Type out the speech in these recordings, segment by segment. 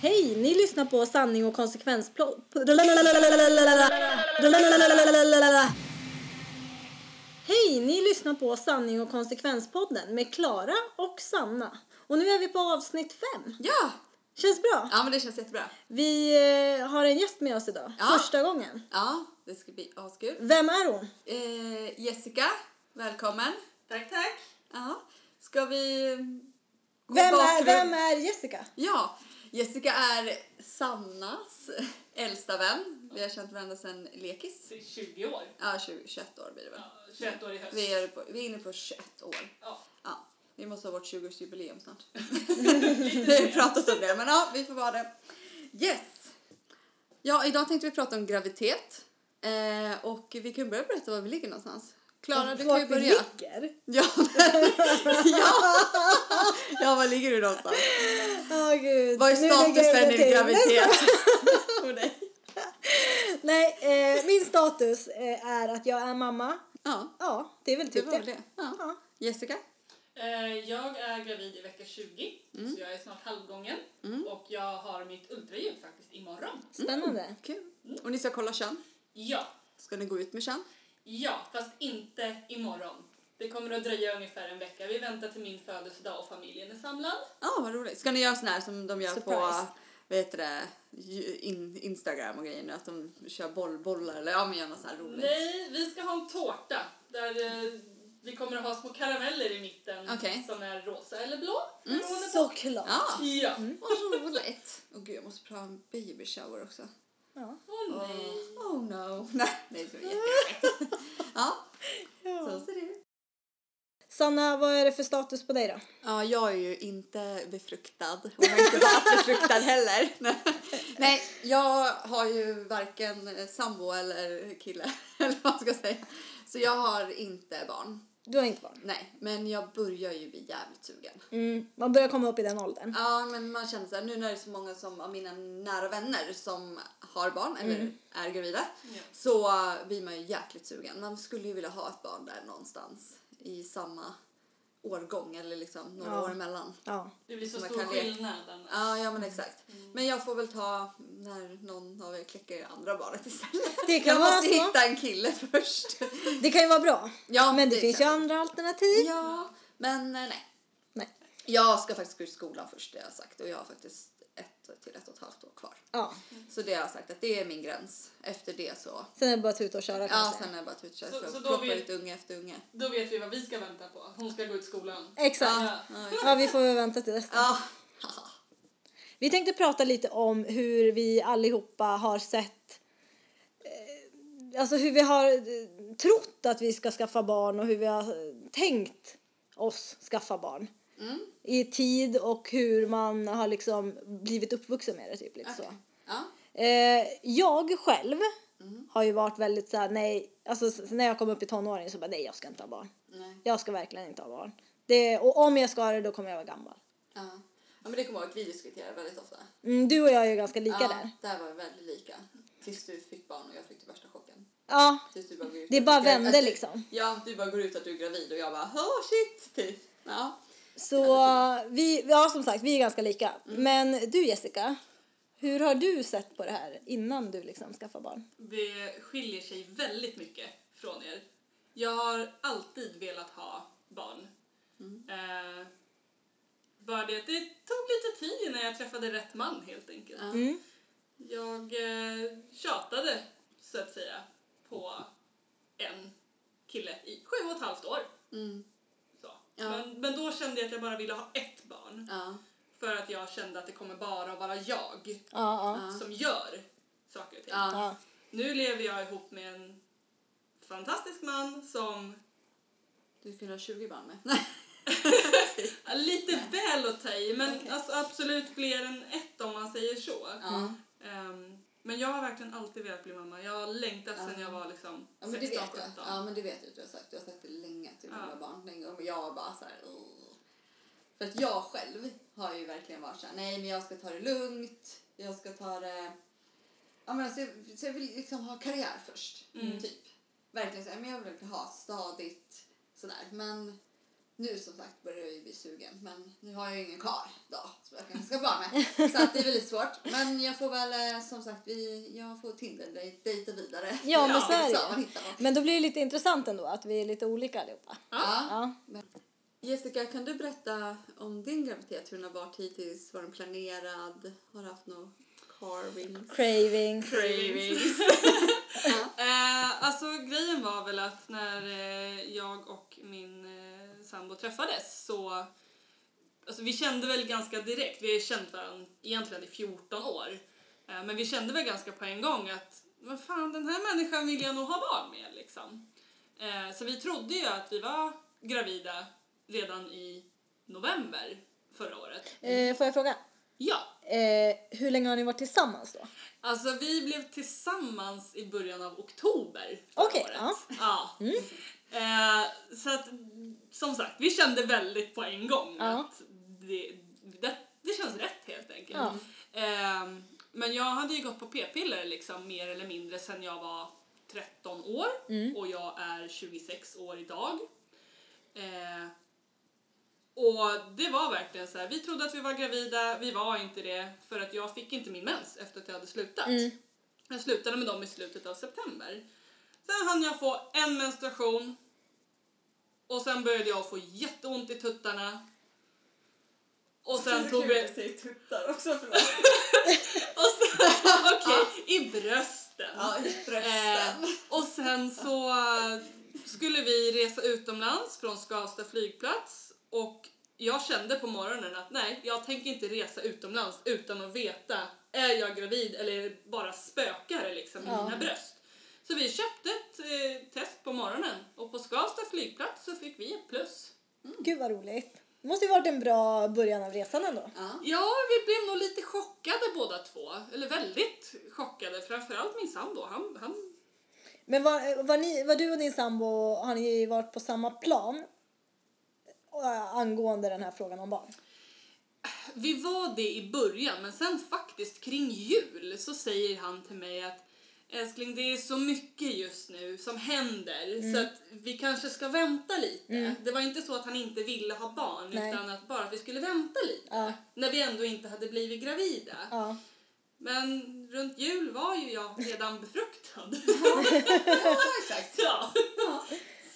Hej, ni lyssnar på Sanning och konsekvensplo... Hej, ni lyssnar på Sanning och konsekvenspodden med Klara och Sanna. Och nu är vi på avsnitt fem. Ja! Känns bra. Ja, men det känns jättebra. Vi eh, har en gäst med oss idag, Ja. första gången. Ja, det ska bli askul. Vem är hon? Eh, Jessica, välkommen. Tack, tack. Ja. Ska vi... gå Vem är, bakgrund? vem är Jessica? Ja, Jessica är Sannas äldsta vän. Vi har känt varandra sedan lekis. 20 år. Ja, 20, 21 år blir det väl. Ja, 21 år i höst. Vi är, på, vi är inne på 21 år. Ja. Ja, vi måste ha vårt 20-årsjubileum snart. vi har ju pratat om det, men ja, vi får vara det. Yes! Ja, idag tänkte vi prata om graviditet. Eh, och vi kan börja berätta var vi ligger någonstans. Klara, du kan ju Vart vi börja. ligger? Ja, ja. ja, var ligger du någonstans? Åh gud. Vad är Nu lägger jag statusen det i till. graviditet? För dig? Nej, eh, min status eh, är att jag är mamma. Ja, Ja, det är väl det typ var väl det. det. Ja. Ja. Jessica? Eh, Jag är gravid i vecka 20, Mm. så jag är snart halvgången. Och jag har mitt ultraljud faktiskt imorgon. Spännande. Kul. Och ni ska kolla kön? Ja, Ska ni gå ut med kön? ja, fast inte imorgon. Det kommer att dröja ungefär en vecka. Vi väntar till min födelsedag och familjen är samlad. Ja, vad roligt. Ska ni göra sån här som de gör Surprise. på vad heter det, ju- in, Instagram och grejer nu? Att de kör bollbollar eller ja, men gör något sån här roligt. Nej, vi ska ha en tårta där eh, vi kommer att ha små karameller i mitten Okej. Mm. som är rosa eller blå. beroende på- Mm. Såklart. Ja, Ja. Typ. vad roligt. Åh gud, jag måste prata om baby shower också. Ja. Åh, Oh, nej. oh no. Nej, nej, det var jätteroligt. Ja, så ser det ut. Sanna, vad är det för status på dig då? Ja, jag är ju inte befruktad och har inte varit befruktad heller. Nej, jag har ju varken sambo eller kille eller vad man ska säga. Så jag har inte barn. Du har inte barn. Nej, men jag börjar ju bli jävligt sugen. Mm, man börjar komma upp i den åldern. Ja, men man känner så här, nu när det är så många som, av mina nära vänner som har barn eller Mm. är gravida Ja. så äh, blir man ju jäkligt sugen. Man skulle ju vilja ha ett barn där någonstans i samma årgång eller liksom några Ja. år emellan. Ja. Det blir så Man stor kan leka. skillnad annars. Ja, ja Mm. men exakt. Men jag får väl ta när någon av er kläcker andra barnet istället. Det kan Jag vara måste så. hitta en kille först. Det kan ju vara bra. Ja, men det, finns ju kan- andra alternativ. Ja, men eh, nej. Nej. Jag ska faktiskt gå ut skolan först, det har jag sagt. Och jag har faktiskt ett till ett och ett halvt år kvar. Ja. Så det har jag sagt att det är min gräns. Efter det så... Sen är det bara tuta och köra kan Ja, jag säga. sen är jag bara tutkörd. Så- Så, så så då ploppar vill- ut unge efter unge. Då vet vi vad vi ska vänta på. Hon ska gå ut skolan. Exakt. Ja. Ja. vi får väl vänta till nästa. Ja. Vi tänkte prata lite om hur vi allihopa har sett eh, Alltså hur vi har eh, trott att vi ska skaffa barn och hur vi har eh, tänkt oss skaffa barn. I tid och hur man har liksom blivit uppvuxen med det. Typ, lite så. ja. Eh, jag själv har ju varit väldigt så här, nej, alltså s- när jag kom upp i tonåren så bara nej jag ska inte ha barn. Nej. Jag ska verkligen inte ha barn. Det, och om jag ska ha det då kommer jag vara gammal. Ja. ja, men det kommer jag ihåg att vi diskuterar väldigt ofta. Mm, du och jag är ju ganska lika ja, där. Där var vi väldigt lika. Tills du fick barn och jag fick den värsta chocken. Ja, Tills du bara går ut Det att- bara att- att- vände liksom. Ja, du bara går ut att du är gravid och jag bara oh shit! Typ. Ja. så vi, ja som sagt vi är ganska lika. Mm. Men du Jessica, hur har du sett på det här innan du liksom skaffade barn? Det skiljer sig väldigt mycket från er. Jag har alltid velat ha barn. Eh, bara det att det tog lite tid innan jag träffade rätt man helt enkelt. Ja. Mm. Jag eh, tjatade så att säga på en kille i sju och ett halvt år. Mm. Så. Ja. Men, men då kände jag att jag bara ville ha ett barn. Ja. För att jag kände att det kommer bara att vara jag Ja, ja. Ja. som gör saker och ting. Ja. ja. Nu lever jag ihop med en fantastisk man som Du skulle ha 20 barn med. Nej. är lite väl att ta i, men alltså absolut fler än ett om man säger så. Mm. Ja. Ehm, men jag har verkligen alltid velat bli mamma. Jag har längtat sedan Ja. jag var liksom Ja men det vet 16, jag. 17. Ja men det vet jag att du har sagt. Du har sagt det länge att du vill Ja. ha barn länge och jag var bara så här. "Åh." För att jag själv har ju verkligen varit så här, nej men jag ska ta det lugnt. Jag ska ta det Ja men alltså jag, så jag vill liksom ha karriär först. Typ. Verkligen så här, men jag vill verkligen ha stadigt sådär men Nu som sagt börjar jag ju bli sugen men nu har jag ju ingen kar då som jag kan ska vara med. Så att det är väldigt svårt. Men jag får väl eh, som sagt vi, jag får Tinder-dejta vidare. Ja, men så är det ju. Så man hittar något. Men då blir det lite intressant ändå att vi är lite olika allihopa. Ja. Ja. Jessica, kan du berätta om din graviditet? Hur den har varit hittills? Var den planerad? Har du haft några carvings? Cravings. Cravings. eh, alltså grejen var väl att när eh, jag och min eh, sambo träffades så alltså, vi kände väl ganska direkt, vi har känt varandra egentligen i 14 år, eh, men vi kände väl ganska på en gång att vad fan den här människan vill jag nog ha barn med liksom. Eh, så vi trodde ju att vi var gravida redan i november förra året. Eh, får jag fråga? Ja, Eh, hur länge har ni varit tillsammans då? Alltså vi blev tillsammans i början av oktober Okej, året. ja. Mm. Ja. Eh, så att som sagt, vi kände väldigt på en gång Ja. att det, det, det känns rätt helt enkelt. Ja. Ehm, men jag hade ju gått på p-piller liksom mer eller mindre sedan jag var 13 år Mm. och jag är 26 år idag. Eh, och det var verkligen så här, vi trodde att vi var gravida, vi var inte det för att jag fick inte min mens efter att jag hade slutat. Mm. Mm. Jag slutade med dem i slutet av september. Sen hann jag få en menstruation och sen började jag få jätteont i tuttarna. Och sen tog vi... säger tuttar också, förlåt. Och sen, okej, i brösten. Ja, i brösten. Eh, och sen så eh, skulle vi resa utomlands från Skavsta flygplats och jag kände på morgonen att nej, jag tänker inte resa utomlands utan att veta är jag gravid eller är det bara spökare liksom i Ja. mina bröst. Så vi köpte ett eh, test på morgonen och på Skavsta flygplats så fick vi ett plus. Gud vad roligt. Det måste ju varit en bra början av resan ändå. Ja. Ja, vi blev nog lite chockade båda två. Eller väldigt chockade. Framförallt min sambo. Han, han Men var, var, ni, var du och din sambo, har ni varit på samma plan? eh, Angående den här frågan om barn. Vi var det i början, men sen faktiskt kring jul så säger han till mig att älskling, det är så mycket just nu som händer så att vi kanske ska vänta lite. Det var inte så att han inte ville ha barn Nej. utan att bara att vi skulle vänta lite Ja. när vi ändå inte hade blivit gravida. Ja. Men runt jul var ju jag redan befruktad. ja, exakt. ja.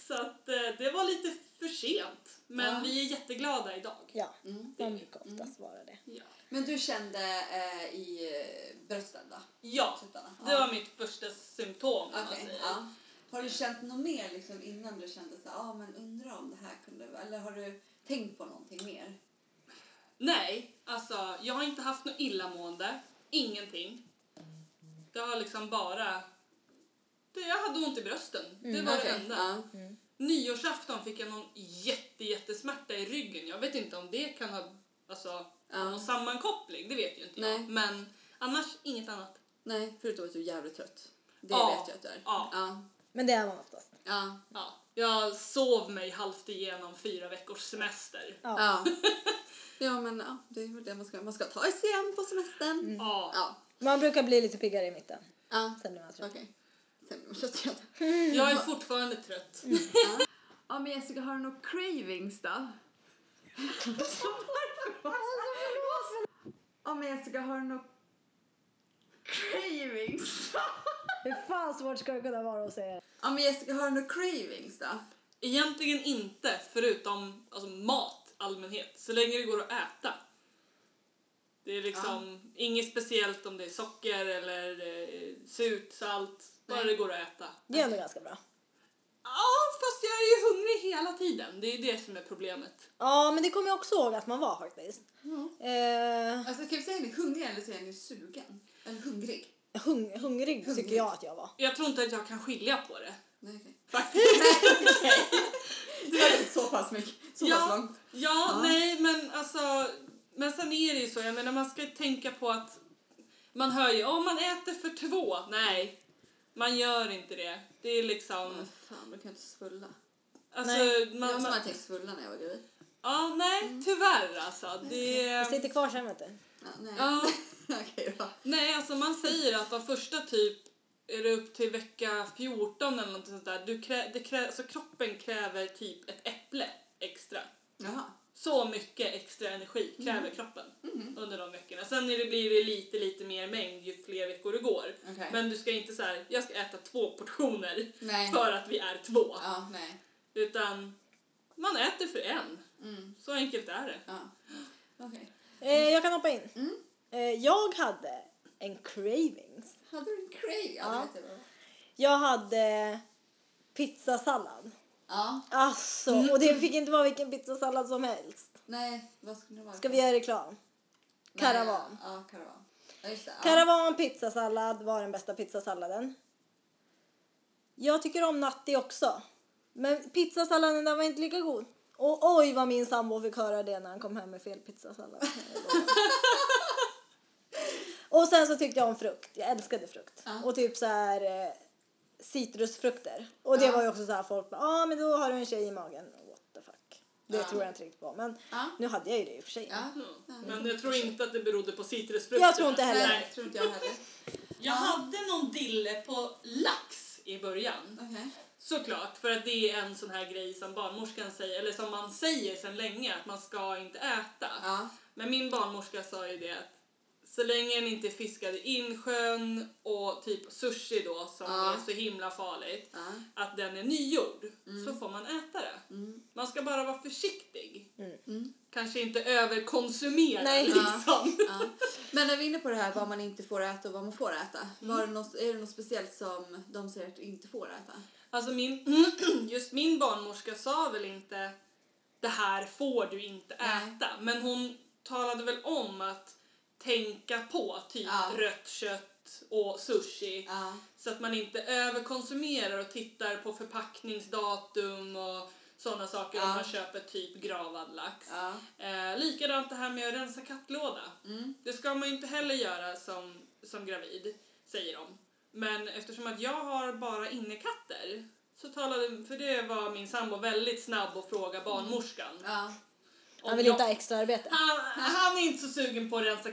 Så att eh, det var lite för sent. Men Ja. vi är jätteglada idag. Ja, Mm. de brukar oftast vara det. Ja. Men du kände eh, i eh, brösten då? ja. Tuttarna? Det var mitt första symptom. om man Okej, säger. ja. Har du känt något mer liksom, innan du kände så här, ah, men undrar om det här kunde vara- Eller har du tänkt på någonting mer? Nej, alltså jag har inte haft något illamående. Ingenting. Det har liksom bara... Det, jag hade ont i brösten. Det var det Mm, Okej, enda. ja. Nyårsafton fick jag någon jätte, jättesmärta i ryggen. Jag vet inte om det kan ha alltså, Ja. någon sammankoppling. Det vet ju inte jag. Nej. Men annars inget annat. Nej, förutom att du är jävligt trött. Det Ja. vet jag att du är. Ja. Ja. Men det är man oftast. Ja. Ja. Jag sov mig halvt igenom fyra veckors semester. Ja. Ja. ja, men ja, det är väl det man ska Man ska ta sig igen på semestern. Ja. Ja. Man brukar bli lite piggare i mitten. Ja. Sen blir man trött. Okej. Sen blir man trött igen. Jag är fortfarande trött. Mm. Ja, men Jessica, har du några cravings då? Ja, men Jessica, har du några cravings? Hur fan svårt ska det kunna vara att säga? Ja, men Jessica, har du några cravings då? Egentligen inte, förutom alltså, mat allmänhet. Så länge det går att äta. Det är liksom inget speciellt om det är socker eller eh, surt, salt. Bara Nej. det går att äta. Det är ändå ganska bra. Ja, fast jag är ju hungrig hela tiden. Det är ju det som är problemet. Ja, men det kommer jag också ihåg att man var faktiskt. Eh, Alltså, kan vi säga att ni är hungriga eller säger ni sugen? Eller hungrig? hung, hungrig tycker jag att jag var. Jag tror inte att jag kan skilja på det. Nej, okej. Faktiskt. Det var inte så pass mycket. Så pass ja, långt. ja, nej men alltså. Men sen är det ju så, jag menar man ska tänka på att man hör ju om man äter för två. Nej, man gör inte det. Det är liksom... Men fan, då kan jag inte svulla. Alltså, Nej, Jag man, som Mm. man, hade tänkt svulla när jag var gravid. ja, nej, tyvärr alltså. Det, Det sitter kvar sen vet du. Eh, Ja, nej. ja, Okej då. nej, alltså man säger att de första typ är det upp till vecka 14 eller något sånt där. Du krä, det krä, alltså kroppen kräver typ ett äpple extra. Jaha. Så mycket extra energi Mm. kräver kroppen under de veckorna. Sen är det, blir det lite, lite mer mängd ju fler veckor det går. Okej. Men du ska inte så här, jag ska äta två portioner Nej. för att vi är två. Ja, nej. Utan man äter för en. Mm. Så enkelt är det. Ja. Okej. Eh, jag kan hoppa in. Mm. Eh, jag hade en cravings. Hade du en crave? Ja. Ja. det vet jag vad. Jag hade pizzasallad. ja. Alltså, och det fick inte vara vilken pizzasallad som helst. Nej, vad skulle det vara? Ska vi göra reklam? Nej, Karavan. Ja, karavan. Ja, just det. Ja. Karavan pizzasallad var den bästa pizzasalladen. Jag tycker om natti också. Men pizzasalladen där var inte lika god. Och oj vad min sambo fick höra det när han kom hem med fel pizzasallad. och sen så tyckte jag om frukt. Jag älskade frukt. Ja. Och typ så här eh, citrusfrukter. Och det Ja. var ju också så här folk bara, ja ah, men då har du en tjej i magen. What the fuck. Det Ja. tror jag inte riktigt på. Men Ja. nu hade jag ju det i och för sig. Ja. Ja. Men jag tror inte att det berodde på citrusfrukter. Jag tror inte heller. Nej, Nej. tror inte jag heller. Jag hade någon dille på lax i början. Okej. Såklart, för att det är en sån här grej som barnmorskan säger, eller som man säger sedan länge, att man ska inte äta. Ja. Men min barnmorska sa ju det att så länge den inte är fiskad i insjön och typ sushi då som Ja. är så himla farligt, Ja. att den är nygjord Mm. så får man äta det. Man ska bara vara försiktig. Kanske inte överkonsumera Mm. Nej. liksom. Mm. Ja. Men när vi är inne på det här vad man inte får äta och vad man får äta. Mm. Var det något, är det något speciellt som de säger att du inte får äta? Alltså min, just min barnmorska sa väl inte det här får du inte Nej. äta. Men hon talade väl om att tänka på typ Ja. rött kött och sushi. Ja. Så att man inte överkonsumerar och tittar på förpackningsdatum och sådana saker om Ja. man köper typ gravad lax. Ja. Eh, likadant det här med att rensa kattlåda. Mm. Det ska man ju inte heller göra som, som gravid, säger de. Men eftersom att jag har bara innekatter så talade, för det var min sambo väldigt snabb att Mm. fråga barnmorskan. Ja. om Han vill jag- inte ha extra arbete. han, han är inte så sugen på att rensa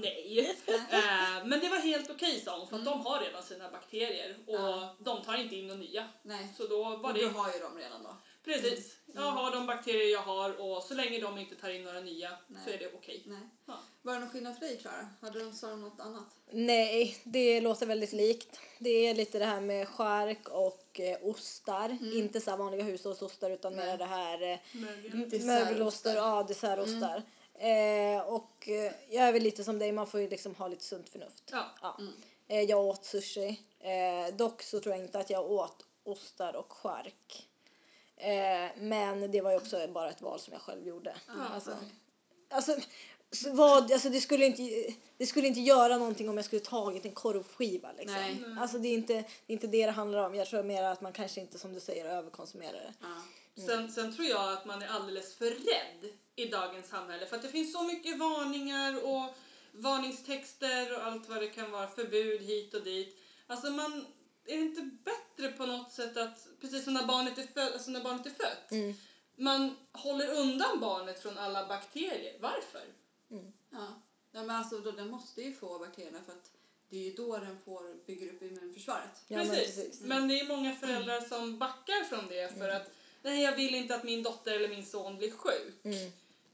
nej. Eh, men det var helt okej sa hon för att de har redan sina bakterier och Mm. Ja. de tar inte in några nya. Nej. Så då var Och du det har Mm. ju dem redan då. precis. Jag har de bakterier jag har och så länge de inte tar in några nya Nej. så är det okej. Nej. Ja. Var det någon skillnad för dig Klara? Hade de sagt något annat? Nej, det låter väldigt likt. Det är lite det här med skärk och eh, ostar. Inte så här vanliga hushållsostar utan mer det här eh, Mögel. Dessertostar. mögelostar, ja, dessertostar. Eh, och eh, jag är väl lite som dig, man får ju liksom ha lite sunt förnuft. Ja. Ja. Eh, jag åt sushi. Eh, dock så tror jag inte att jag åt ostar och skärk. Eh, men det var ju också bara ett val som jag själv gjorde. alltså, alltså, s- vad, alltså det, skulle inte, det skulle inte göra någonting om jag skulle tagit en korvskiva. Liksom. Nej. Alltså det, är inte, det är inte det det handlar om. Jag tror mer att man kanske inte som du säger överkonsumerar det. Ja. Sen, sen tror jag att man är alldeles för rädd i dagens samhälle för att det finns så mycket varningar och varningstexter och allt vad det kan vara, förbud hit och dit. Alltså man är det inte bättre på något sätt att, precis som när barnet är, fö- alltså när barnet är fött, man håller undan barnet från alla bakterier. Varför? Ja. ja men alltså då, den måste ju få bakterierna för att det är ju då den får bygger upp immunförsvaret. Ja, men precis. precis. Mm. Men det är många föräldrar som backar från det för att nej, jag vill inte att min dotter eller min son blir sjuk.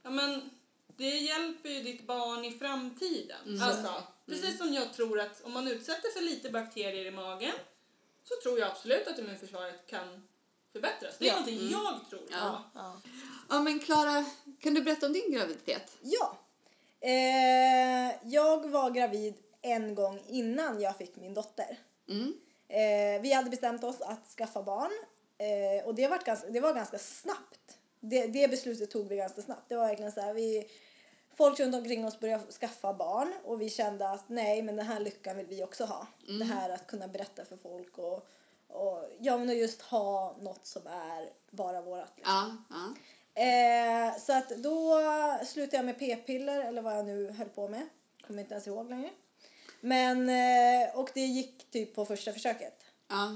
Ja, men det hjälper ju ditt barn i framtiden. Mm. Alltså, Precis som jag tror att om man utsätter för lite bakterier i magen så tror jag absolut att immunförsvaret kan förbättras. Det är Ja. Mm. någonting jag tror. Ja. Ja. Ja men Klara, kan du berätta om din graviditet? Ja. Eh, jag var gravid en gång innan jag fick min dotter. Mm. Eh, vi hade bestämt oss att skaffa barn eh, och det var ganska, det var ganska snabbt. Det, det beslutet tog vi ganska snabbt. Det var verkligen så här, vi, folk runt omkring oss började skaffa barn och vi kände att nej, men den här lyckan vill vi också ha. Det här att kunna berätta för folk och, och ja, men att just ha något som är bara vårat. liksom. Ja. ja. Eh, så att då slutade jag med p-piller eller vad jag nu höll på med. Kommer inte ens ihåg längre. Men, eh, och det gick typ på första försöket. ja.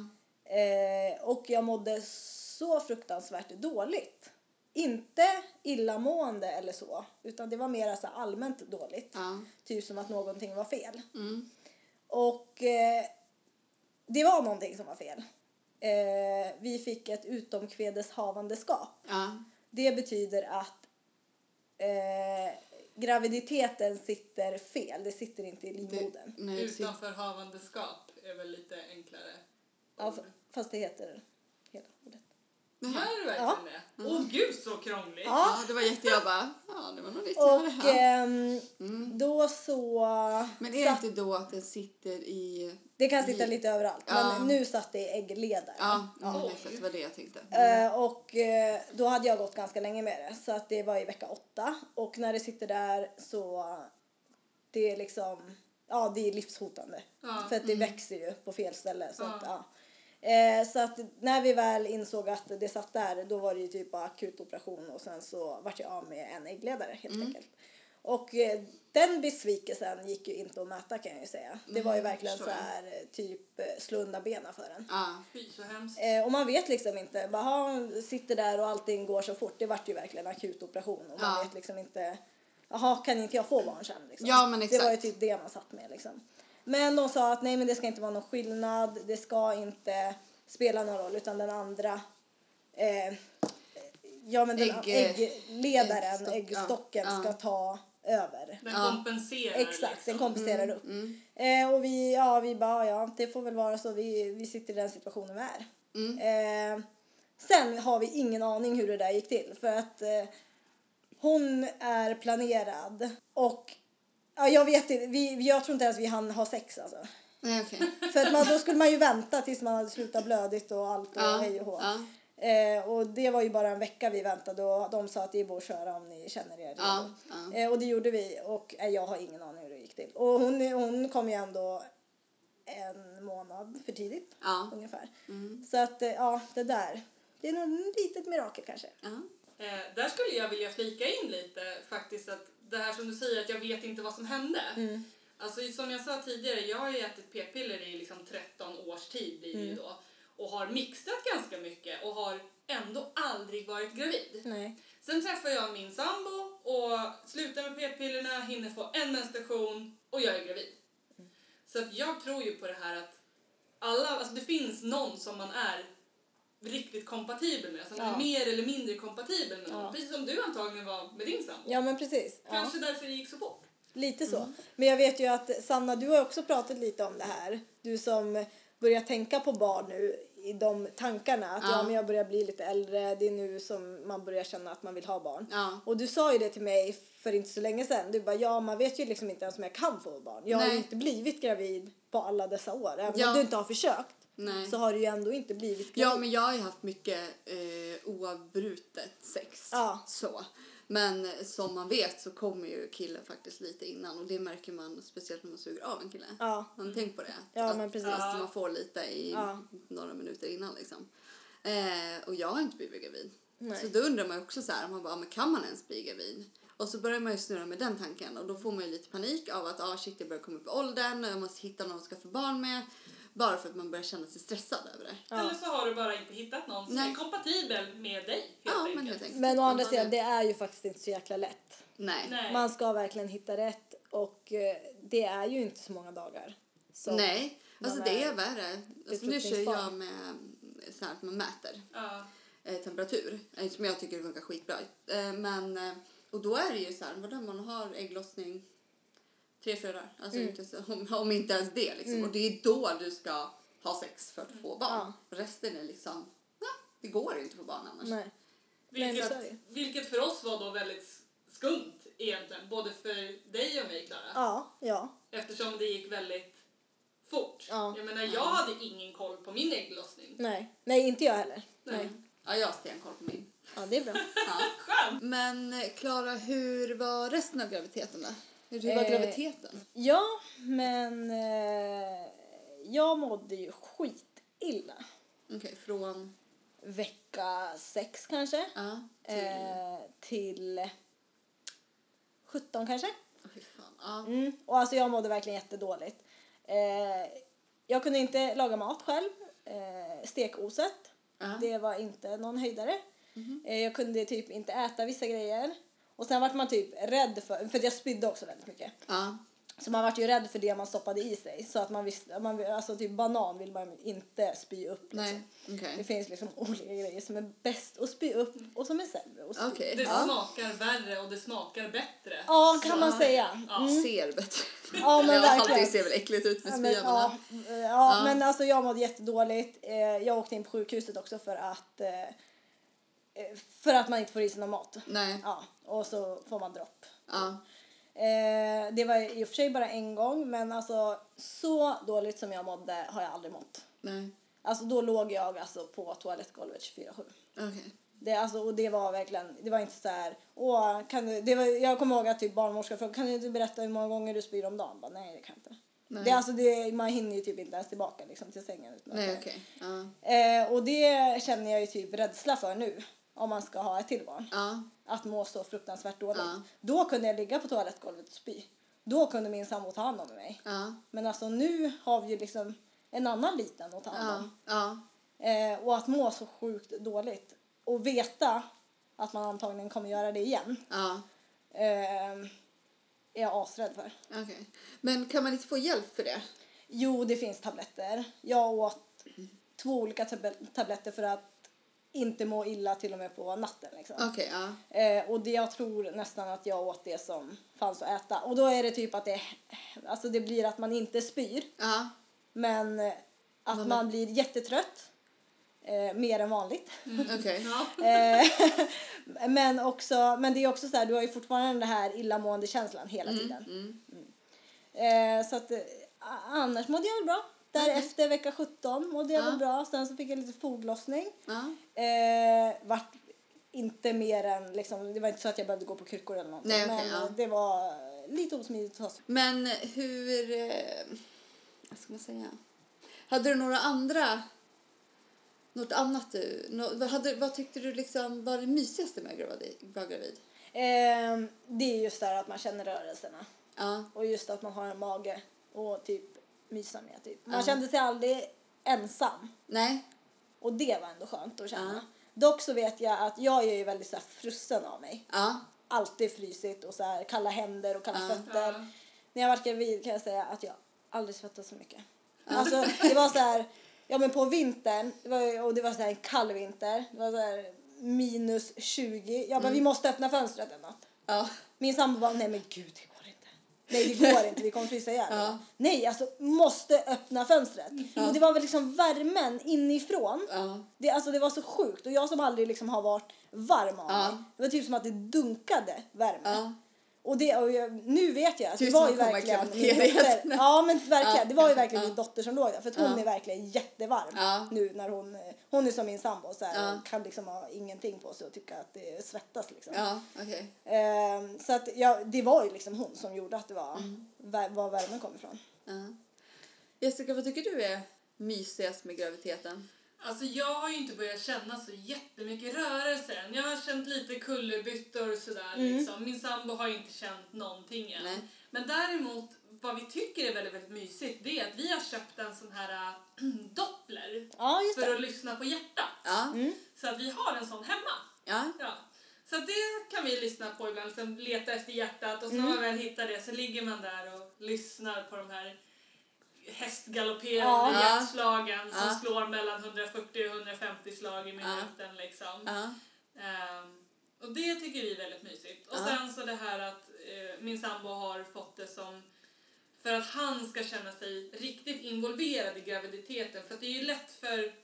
Eh, och jag mådde så fruktansvärt dåligt. Inte illamående eller så, utan det var mer så här allmänt dåligt. Ja. Typ som att någonting var fel. Och eh, det var någonting som var fel. Eh, vi fick ett utomkvedeshavandeskap ja. Det betyder att eh, graviditeten sitter fel. Det sitter inte i livmodern. nej, det sit- Utanför havandeskap är väl lite enklare. Ja, f- fast det heter hela ordet. Jaha. Gör det verkligen det? Åh gud så krångligt! Ja. Ja, det var jätte... Jag bara, ja, det var nog nytt jag hörde Och här. ehm, då så... Men är det inte då att den sitter i... Det kan sitta lite överallt, Ja. men nu satt det i äggledaren. Ja, Ja. ja. exakt. Det var det jag tänkte. Eh, och eh, då hade jag gått ganska länge med det, så att det var i vecka åtta. Och när det sitter där så... Det är liksom... Ja, det är livshotande. Ja, För att det växer ju på fel ställe. Så, Ja. Att, ja. Eh, så att när vi väl insåg att det satt där, då var det ju typ bara akut operation och sen så vart jag av med en äggledare helt enkelt. Och eh, den besvikelsen gick ju inte att mäta kan jag ju säga. Det var ju Nej, verkligen så förstår jag. här eh, typ eh, slå undan benen för en. Ja. Fy så hemskt. Eh, och man vet liksom inte. Bara, ha, sitter där och allting går så fort. Det vart ju verkligen en akut operation. Och man Ja. vet liksom inte. Jaha, kan inte jag få barn sen? Liksom. Ja, men Det var ju exakt. typ det man satt med liksom. Men de sa att nej, men det ska inte vara någon skillnad. Det ska inte spela någon roll. Utan den andra. Eh, ja, men den Ägg- äggledaren, äggstock, ja. äggstocken, Ja. ska ta över. Den Ja. Mm, kompenserar Exakt, den liksom. kompenserar upp. Eh, och vi, ja, vi bara, ja, det får väl vara så. Vi, vi sitter i den situationen vi är. Mm. Eh, sen har vi ingen aning hur det där gick till. För att eh, hon är planerad och ja, jag vet inte, vi, jag tror inte ens vi hann ha sex alltså. Nej, okej. För att man, då skulle man ju vänta tills man hade slutat blödigt och allt och Ja, hej och hå. ja. Eh, och det var ju bara en vecka vi väntade och de sa att det är bara att köra om ni känner er redo. Ja, ja. Eh, och det gjorde vi och eh, jag har ingen aning hur det gick till. Och hon, hon kom ju ändå en månad för tidigt Ja. ungefär. Så att eh, ja, det där. Det är nog ett litet mirakel kanske. Ja. Eh, där skulle jag vilja flika in lite faktiskt att det här som du säger att jag vet inte vad som hände. Alltså som jag sa tidigare, jag har ju ätit p-piller i liksom 13 års tid blir det ju då och har mixat ganska mycket och har ändå aldrig varit gravid. Nej. Sen träffar jag min sambo och slutar med p-pillerna, hinner få en menstruation och jag är gravid. Så att jag tror ju på det här att alla, alltså det finns någon som man är riktigt kompatibel med, som Ja. är mer eller mindre kompatibel med någon. Ja. Precis som du antagligen var med din sambo. Ja men precis. Ja. Kanske därför det gick så fort. Lite så. Mm. Men jag vet ju att Sanna, du har också pratat lite om det här. Du som börjar tänka på barn nu i de tankarna. Att Ja. ja. men jag börjar bli lite äldre. Det är nu som man börjar känna att man vill ha barn. Ja. Och du sa ju det till mig för inte så länge sedan. Du bara, ja man vet ju liksom inte ens om jag kan få barn. Jag har Nej. ju inte blivit gravid på alla dessa år. Även Ja. om du inte har försökt Nej. så har du ju ändå inte blivit gravid. Ja, men jag har ju haft mycket eh, oavbrutet sex. Ja. Så. Men eh, som man vet så kommer ju killen faktiskt lite innan och det märker man speciellt när man suger av en kille. Ja. Har ni tänkt på det? Ja, att, men precis. Att man får lite i Ja. några minuter innan liksom. Eh, och jag har inte blivit gravid. Nej. Så då undrar man ju också så här, man bara, men kan man ens bli gravid? Och så börjar man ju snurra med den tanken och då får man ju lite panik av att ah, shit jag börjar komma upp i åldern och jag måste hitta någon att skaffa barn med. Bara för att man börjar känna sig stressad över det. Eller så har du bara inte hittat någon som Nej. är kompatibel med dig helt Ja, enkelt. men helt enkelt. Men å andra Man- sidan, det är ju faktiskt inte så jäkla lätt. Nej. Nej. Nej. Man ska verkligen hitta rätt och eh, det är ju inte så många dagar. Så, Alltså man det är- är värre. Alltså, nu kör befruktningsbar. jag med eh, så här att man mäter Ja. eh, temperatur. eh, Som jag tycker funkar skitbra. Eh, men, eh, och då är det ju så här, vadå, man har ägglossning tre, fyra dagar. Alltså Mm. inte så, om, om inte ens det liksom. Och det är då du ska ha sex för Mm. att få barn. Resten är liksom, nej, det går inte på barn annars. Nej. Nej, Vilket, så är det. vilket för oss var då väldigt skumt egentligen, både för dig och mig Klara. Ja, ja. Eftersom det gick väldigt fort. Ja. Jag menar, jag hade ingen koll på min ägglossning. Nej. Nej, inte jag heller. Nej. Ja, jag har stenkoll på min. Ja, det är bra. Ja. Skönt! Men eh, Klara, hur var resten av graviditeten då? Hur var Eh, graviditeten? ja, men eh, jag mådde ju skitilla. Okej, från... Vecka sex kanske. Ja, till... Eh, till 17 kanske. Åh, fy fan. Ja. Mm. Och alltså jag mådde verkligen jättedåligt. Eh, jag kunde inte laga mat själv. Eh, stekoset. Ja. Det var inte någon höjdare. Eh, jag kunde typ inte äta vissa grejer. Och sen vart man typ rädd för, för att jag spydde också väldigt mycket. Ja. Så man vart ju rädd för det man stoppade i sig. Så att man visste, man, alltså typ banan vill man inte spy upp. liksom. Nej, Det okej. finns liksom olika grejer som är bäst att spy upp och som är sämre att spy upp. Okej. Det Ja. smakar värre och det smakar bättre. Ja, kan man Så- säga. Ja. Mm. Ser bättre ut. Ja, men ja, allting verkligen. ser väl äckligt ut med Ja, men, spyan. ja, Ja. ja, ja, Ja. men alltså jag mådde jättedåligt. Eh, Jag åkte in på sjukhuset också för att eh, eh, för att man inte får i sig någon mat. Nej. Ja, och så får man dropp. Ja. Eh, det var i och för sig bara en gång, men alltså så dåligt som jag mådde har jag aldrig mått. Nej. Alltså då låg jag alltså på toalettgolvet 24-7. Okej. Det, alltså, och det var verkligen, det var inte så här, åh, kan du, det var, jag kommer ihåg att typ barnmorskan frågade, kan du inte berätta hur många gånger du spyr om dagen? Jag Bara, nej, det kan jag inte. Nej. Det, är alltså, det, man hinner ju typ inte ens tillbaka liksom, till sängen. Utan Nej, att- okej. Ja. eh, och det känner jag ju typ rädsla för nu, om man ska ha ett till barn Ja. att må så fruktansvärt dåligt. Ja. Då kunde jag ligga på toalettgolvet och spy. Då kunde min sambo ta hand om mig. Ja. Men alltså nu har vi ju liksom en annan liten att ta hand Ja. om. Ja. Eh, och att må så sjukt dåligt och veta att man antagligen kommer göra det igen Ja. eh, är jag asrädd för. Okej. Men kan man inte få hjälp för det? Jo, det finns tabletter. Jag åt Mm. två olika tab- tabletter för att inte må illa till och med på natten. Liksom. Okej, ja. Eh, och det, jag tror nästan att jag åt det som fanns att äta. Och då är det typ att det, alltså det blir att man inte spyr, Ja. men eh, att Men- man blir jättetrött. Eh, mer än vanligt. Okej. Ja. Eh, men, också, men det är också så här, du har ju fortfarande den här illamående känslan hela tiden. Mm. Eh, så att, eh, a- annars mådde jag väl bra. Därefter vecka 17 mådde jag Mm. Ja. väl bra. Sen så fick jag lite foglossning. Ja. Eh, vart inte mer än, liksom, det var inte så att jag behövde gå på kryckor eller någonting. Nej, okej, men ja. eh, det var eh, lite osmidigt att ta sig. Men hur... eh, Vad ska man säga? Hade du några andra... Något annat du... Nå, vad, hade, vad tyckte du liksom var det mysigaste med att gravid- vara gravid? Eh, det är just det här att man känner rörelserna Ja. och just att man har en mage och typ mysa med. Typ. Man Ja. kände sig aldrig ensam Nej. och det var ändå skönt att känna. Ja. Dock så vet jag att jag är ju väldigt så här frusen av mig. Ja. Alltid frysit och så här kalla händer och kalla Ja. fötter. Ja. När jag var gravid kan jag säga att jag aldrig svettade så mycket. Alltså, det var så här, ja men på vintern, det var, ju- och det var så här en kall vinter, det var så här minus 20. Jag bara, Mm. vi måste öppna fönstret en natt. Ja. Min sambo bara, nej men gud det går inte. Nej det går inte, vi kommer frysa ihjäl. Ja. Nej alltså, måste öppna fönstret. Och det var väl liksom värmen inifrån. Ja. Det, alltså, det var så sjukt och jag som aldrig liksom har varit varm av Ja. mig. Det var typ som att det dunkade värme. Ja. Och, det, och jag, nu vet jag att det Typ var som ju att komma i verkligen min klimakteriet. dotter. Ja men verkligen, Ja. det var ju verkligen Ja. min dotter som låg där för att hon Ja. är verkligen jättevarm Ja. nu när hon, hon är som min sambo så här, Ja. och kan liksom ha ingenting på sig och tycka att det svettas liksom. Ja. Okej. Ehm, så att ja, det var ju liksom hon som gjorde att det var, Mm. vär, var värmen kom ifrån. Ja. Jessica, vad tycker du är mysigast med graviditeten? Alltså jag har ju inte börjat känna så jättemycket rörelse än. Jag har känt lite kullerbyttor och sådär Mm. liksom. Min sambo har ju inte känt någonting än. Nej. Men däremot vad vi tycker är väldigt, väldigt mysigt det är att vi har köpt en sån här äh, doppler Ja just för det. Mm. att lyssna på hjärtat. Ja. Så att vi har en sån hemma. Ja. Ja. Så att det kan vi lyssna på ibland, sen leta efter hjärtat och så Mm. när man väl hittar det så ligger man där och lyssnar på de här hästgalopperande Ja. hjärtslagen som Ja. slår mellan 140 och 150 slag i minuten liksom. Ja. Ehm, och det tycker vi är väldigt mysigt. Och Ja. sen så det här att eh, min sambo har fått det som för att han ska känna sig riktigt involverad i graviditeten. För att det är ju lätt för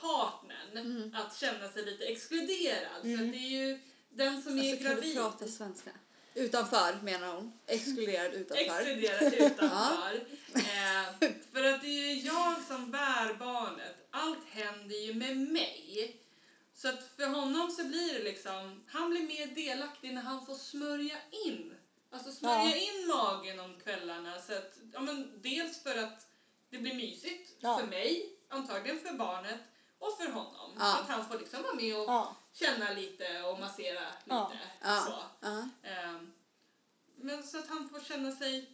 partnern Mm. att känna sig lite exkluderad. Så att det är ju den som Alltså, är kan du gravid prata svenska? Utanför menar hon. Exkluderad utanför. exkluderat utanför. eh, för att det är ju jag som bär barnet. Allt händer ju med mig. Så att för honom så blir det liksom, han blir mer delaktig när han får smörja in. Alltså Ja. smörja in magen om kvällarna. Så att, ja, men dels för att det blir mysigt Ja. för mig, antagligen för barnet och för honom. Ja. Att han får liksom vara med och Ja. känna lite och massera lite. Ja. Ja. Så. ja. Ehm, men så att han får känna sig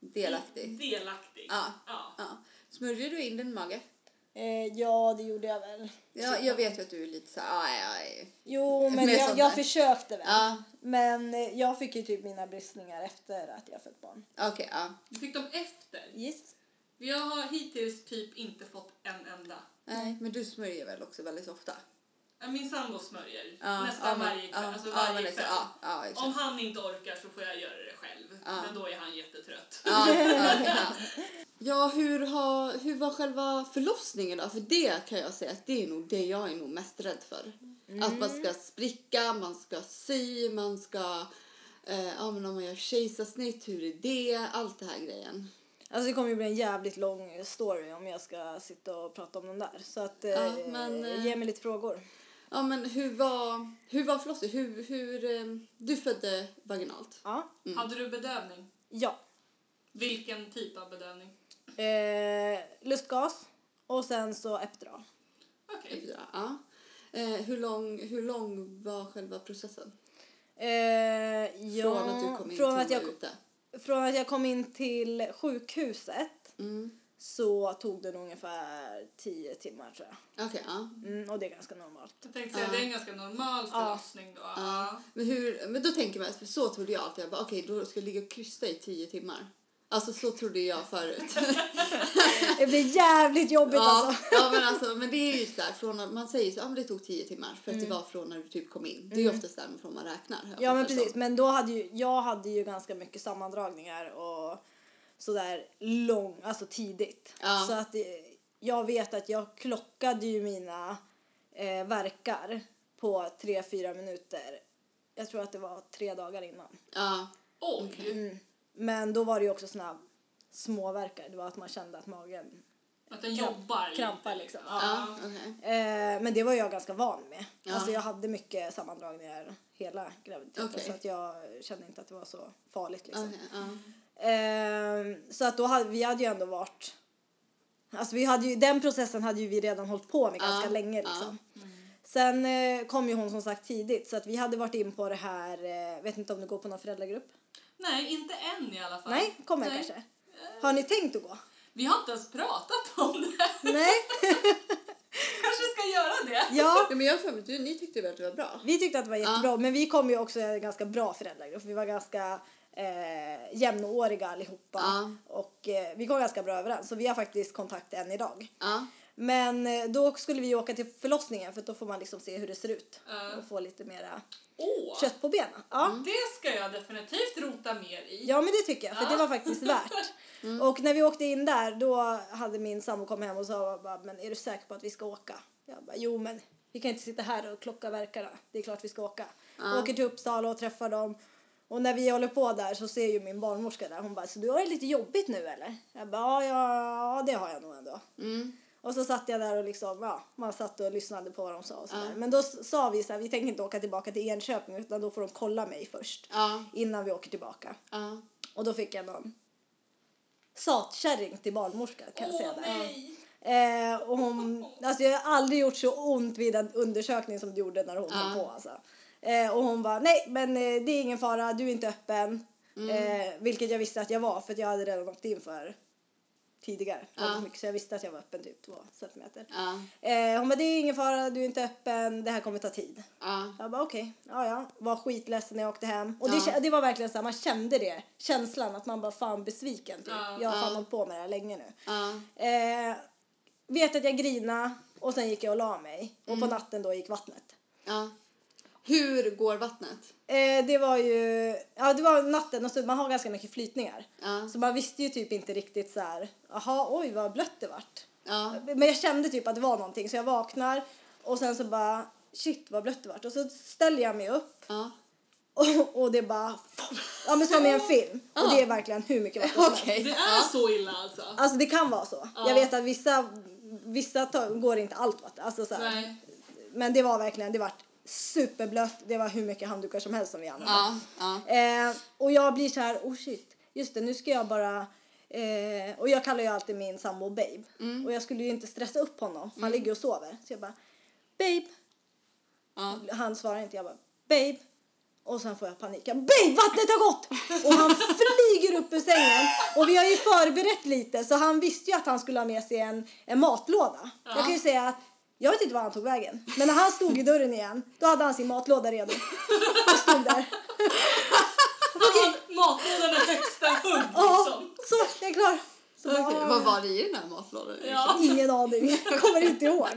Delaktig. delaktig. Ja. Ja. ja. Smörjer du in din mage? Eh, ja det gjorde jag väl. Ja, jag vet ju att du är lite så här, aj, aj. Jo, men Mer jag, sånt jag där. försökte väl. Ja, Men eh, jag fick ju typ mina bristningar efter att jag fött barn. okej, ja. Du fick dem efter. Yes. Jag har hittills typ inte fått en enda. Nej, men du smörjer väl också väldigt ofta? Ja, Min sambo smörjer Ja, nästan ja, men- varje kväll. ja, alltså ja, varje men liksom, kväll. Ja, ja, exakt. Om han inte orkar så får jag göra det själv. Ja. Men då är han jättetrött. Ja, ja, ja. ja hur, har, hur var själva förlossningen då? För det kan jag säga att det är nog det jag är nog mest rädd för. Att man Mm. ska spricka, man ska sy, man ska... Eh, ja, men om man gör kejsarsnitt, hur är det? Allt det här grejen. Alltså det kommer ju bli en jävligt lång eh, story om jag ska sitta och prata om den där. Så att eh, Ja, men, eh, ge mig lite frågor. Ja, men hur var, hur var förlossningen? Hur, hur, eh, du födde vaginalt. Ja. Hade du bedövning? ja. Vilken typ av bedövning? Eh, lustgas och sen så epidural. Okej. Mm. Ja. Eh, hur, lång, hur lång var själva processen? Eh, ja, Från att du kom in från till att jag, var ute? från att jag kom in till sjukhuset Mm. så tog det nog ungefär 10 timmar tror jag. Okej, ja. Mm, och det är ganska normalt. Jag tänkte säga det är en ganska normal förlossning då. Ja. Men, hur, men då tänker man, för så trodde jag alltid, jag bara okej då ska jag ligga och krysta i tio timmar. Alltså så trodde jag förut. Det blir jävligt jobbigt ja, alltså. ja men alltså men det är ju sådär, från, att- man säger så, ja men det tog tio timmar för att det var från när du typ kom in. Det är ju oftast där från man räknar. har jag Mm. Ja men fattat precis, som. men då hade ju, jag hade ju ganska mycket sammandragningar och sådär lång, alltså tidigt. Ja. Så att eh, jag vet att jag klockade ju mina eh, verkar på 3-4 minuter. Jag tror att det var tre dagar innan. Ja, Oj! Mm. Men då var det ju också såna små verkar. det var att man kände att magen... Att den Kramp- jobbar lite, krampar liksom. ja, Ja. okej. Eh, men det var jag ganska van med. Ja. Alltså jag hade mycket sammandragningar hela graviditeten Okej. så att jag kände inte att det var så farligt liksom. Okej, ja. Ehm, så att då hade vi hade ju ändå varit... Alltså vi hade ju, den processen hade ju vi redan hållit på med ganska Ja, länge ja. liksom. Sen eh, kom ju hon som sagt tidigt så att vi hade varit in på det här, eh, vet inte om du går på någon föräldragrupp? Nej, inte än i alla fall. Nej, kommer kanske. Har ni tänkt att gå? Vi har inte ens pratat om det. Nej, kanske ska göra det. ja. Ja, men jag har för mig att du- ni tyckte väl att det var bra? Vi tyckte att det var jättebra men vi kom ju också i en ganska bra föräldragrupp. Vi var ganska eh, jämnåriga allihopa Ja. och eh, vi kom ganska bra överens så vi har faktiskt kontakt än idag. Ja, Men eh, då skulle vi ju åka till förlossningen för att då får man liksom se hur det ser ut Ja. och få lite mera Åh! kött på benen. Ja. Det ska jag definitivt rota mer i. ja men det tycker jag för Ja. det var faktiskt värt. Mm. Och när vi åkte in där då hade min sambo kommit hem och sa bara, men är du säker på att vi ska åka? Jag bara, jo men vi kan inte sitta här och klocka verkarna. Det är klart vi ska åka. Åker till Uppsala och träffar dem. Och när vi håller på där så ser ju min barnmorska där. Hon bara, så du har det lite jobbigt nu eller? Jag bara, ja, ja, ja det har jag nog ändå. mm. Och så satt jag där och liksom, ja, man satt och lyssnade på vad de sa och sådär. Men då s- sa vi så här, vi tänker inte åka tillbaka till Enköping utan då får de kolla mig först. ja, Innan vi åker tillbaka. ja. Och då fick jag någon satkärring till barnmorska kan jag säga Åh där. nej! Eh, och hon, alltså jag har aldrig gjort så ont vid en undersökning som det gjorde när hon Ja. kom på alltså. Eh, och hon bara, nej men eh, det är ingen fara, du är inte öppen. Mm. Eh, vilket jag visste att jag var för att jag hade redan åkt in för tidigare. Ja. Mycket, så jag visste att jag var öppen typ två centimeter. ja, Eh, hon bara, det är ingen fara, du är inte öppen, det här kommer ta tid. ja. Jag bara okej, ja ja, var skitledsen när jag åkte hem. Och det, Ja. kä- det var verkligen så här, man kände det, känslan att man bara fan besviken typ. Ja. jag har fan Ja. hållit på med det här länge nu. ja. Eh, vet att jag grina och sen gick jag och la mig och Mm. på natten då gick vattnet. ja. Hur går vattnet? Eh, det var ju, ja det var natten och så man har ganska mycket flytningar. Ja, Så man visste ju typ inte riktigt så här, jaha oj vad blött det vart. ja, Men jag kände typ att det var någonting så jag vaknar och sen så bara shit vad blött det vart och så ställer jag mig upp ja. och, och det bara ja men som i en film och det är verkligen hur mycket vatten som helst. Okej. Det är Ja. så illa alltså. Alltså det kan vara så. Ja. Jag vet att vissa vissa tar, går inte allt vatten alltså så här, Nej. Men det var verkligen, det var superblött. Det var hur mycket handdukar som helst som vi använde. Ja, ja. Eh, och jag blir så här, oh shit, just det nu ska jag bara eh, och jag kallar ju alltid min sambo babe. Mm. Och jag skulle ju inte stressa upp honom, han ligger och sover. Så jag bara, babe. Ja. Han svarar inte, jag bara, babe. Och sen får jag panik. Jag, Babe, vattnet har gått! Och han flyger upp ur sängen. Och vi har ju förberett lite så han visste ju att han skulle ha med sig en, en matlåda. Jag kan ju säga att jag vet inte var han tog vägen. Men när han stod i dörren igen, då hade han sin matlåda redo. Och stod där. Okay. Matlådan Alltså, är högsta hugg Ja, liksom. så jag är klar. Så bara, Okej, ah, Vad var det i den här matlådan? Ja. Ingen aning. Jag kommer inte ihåg.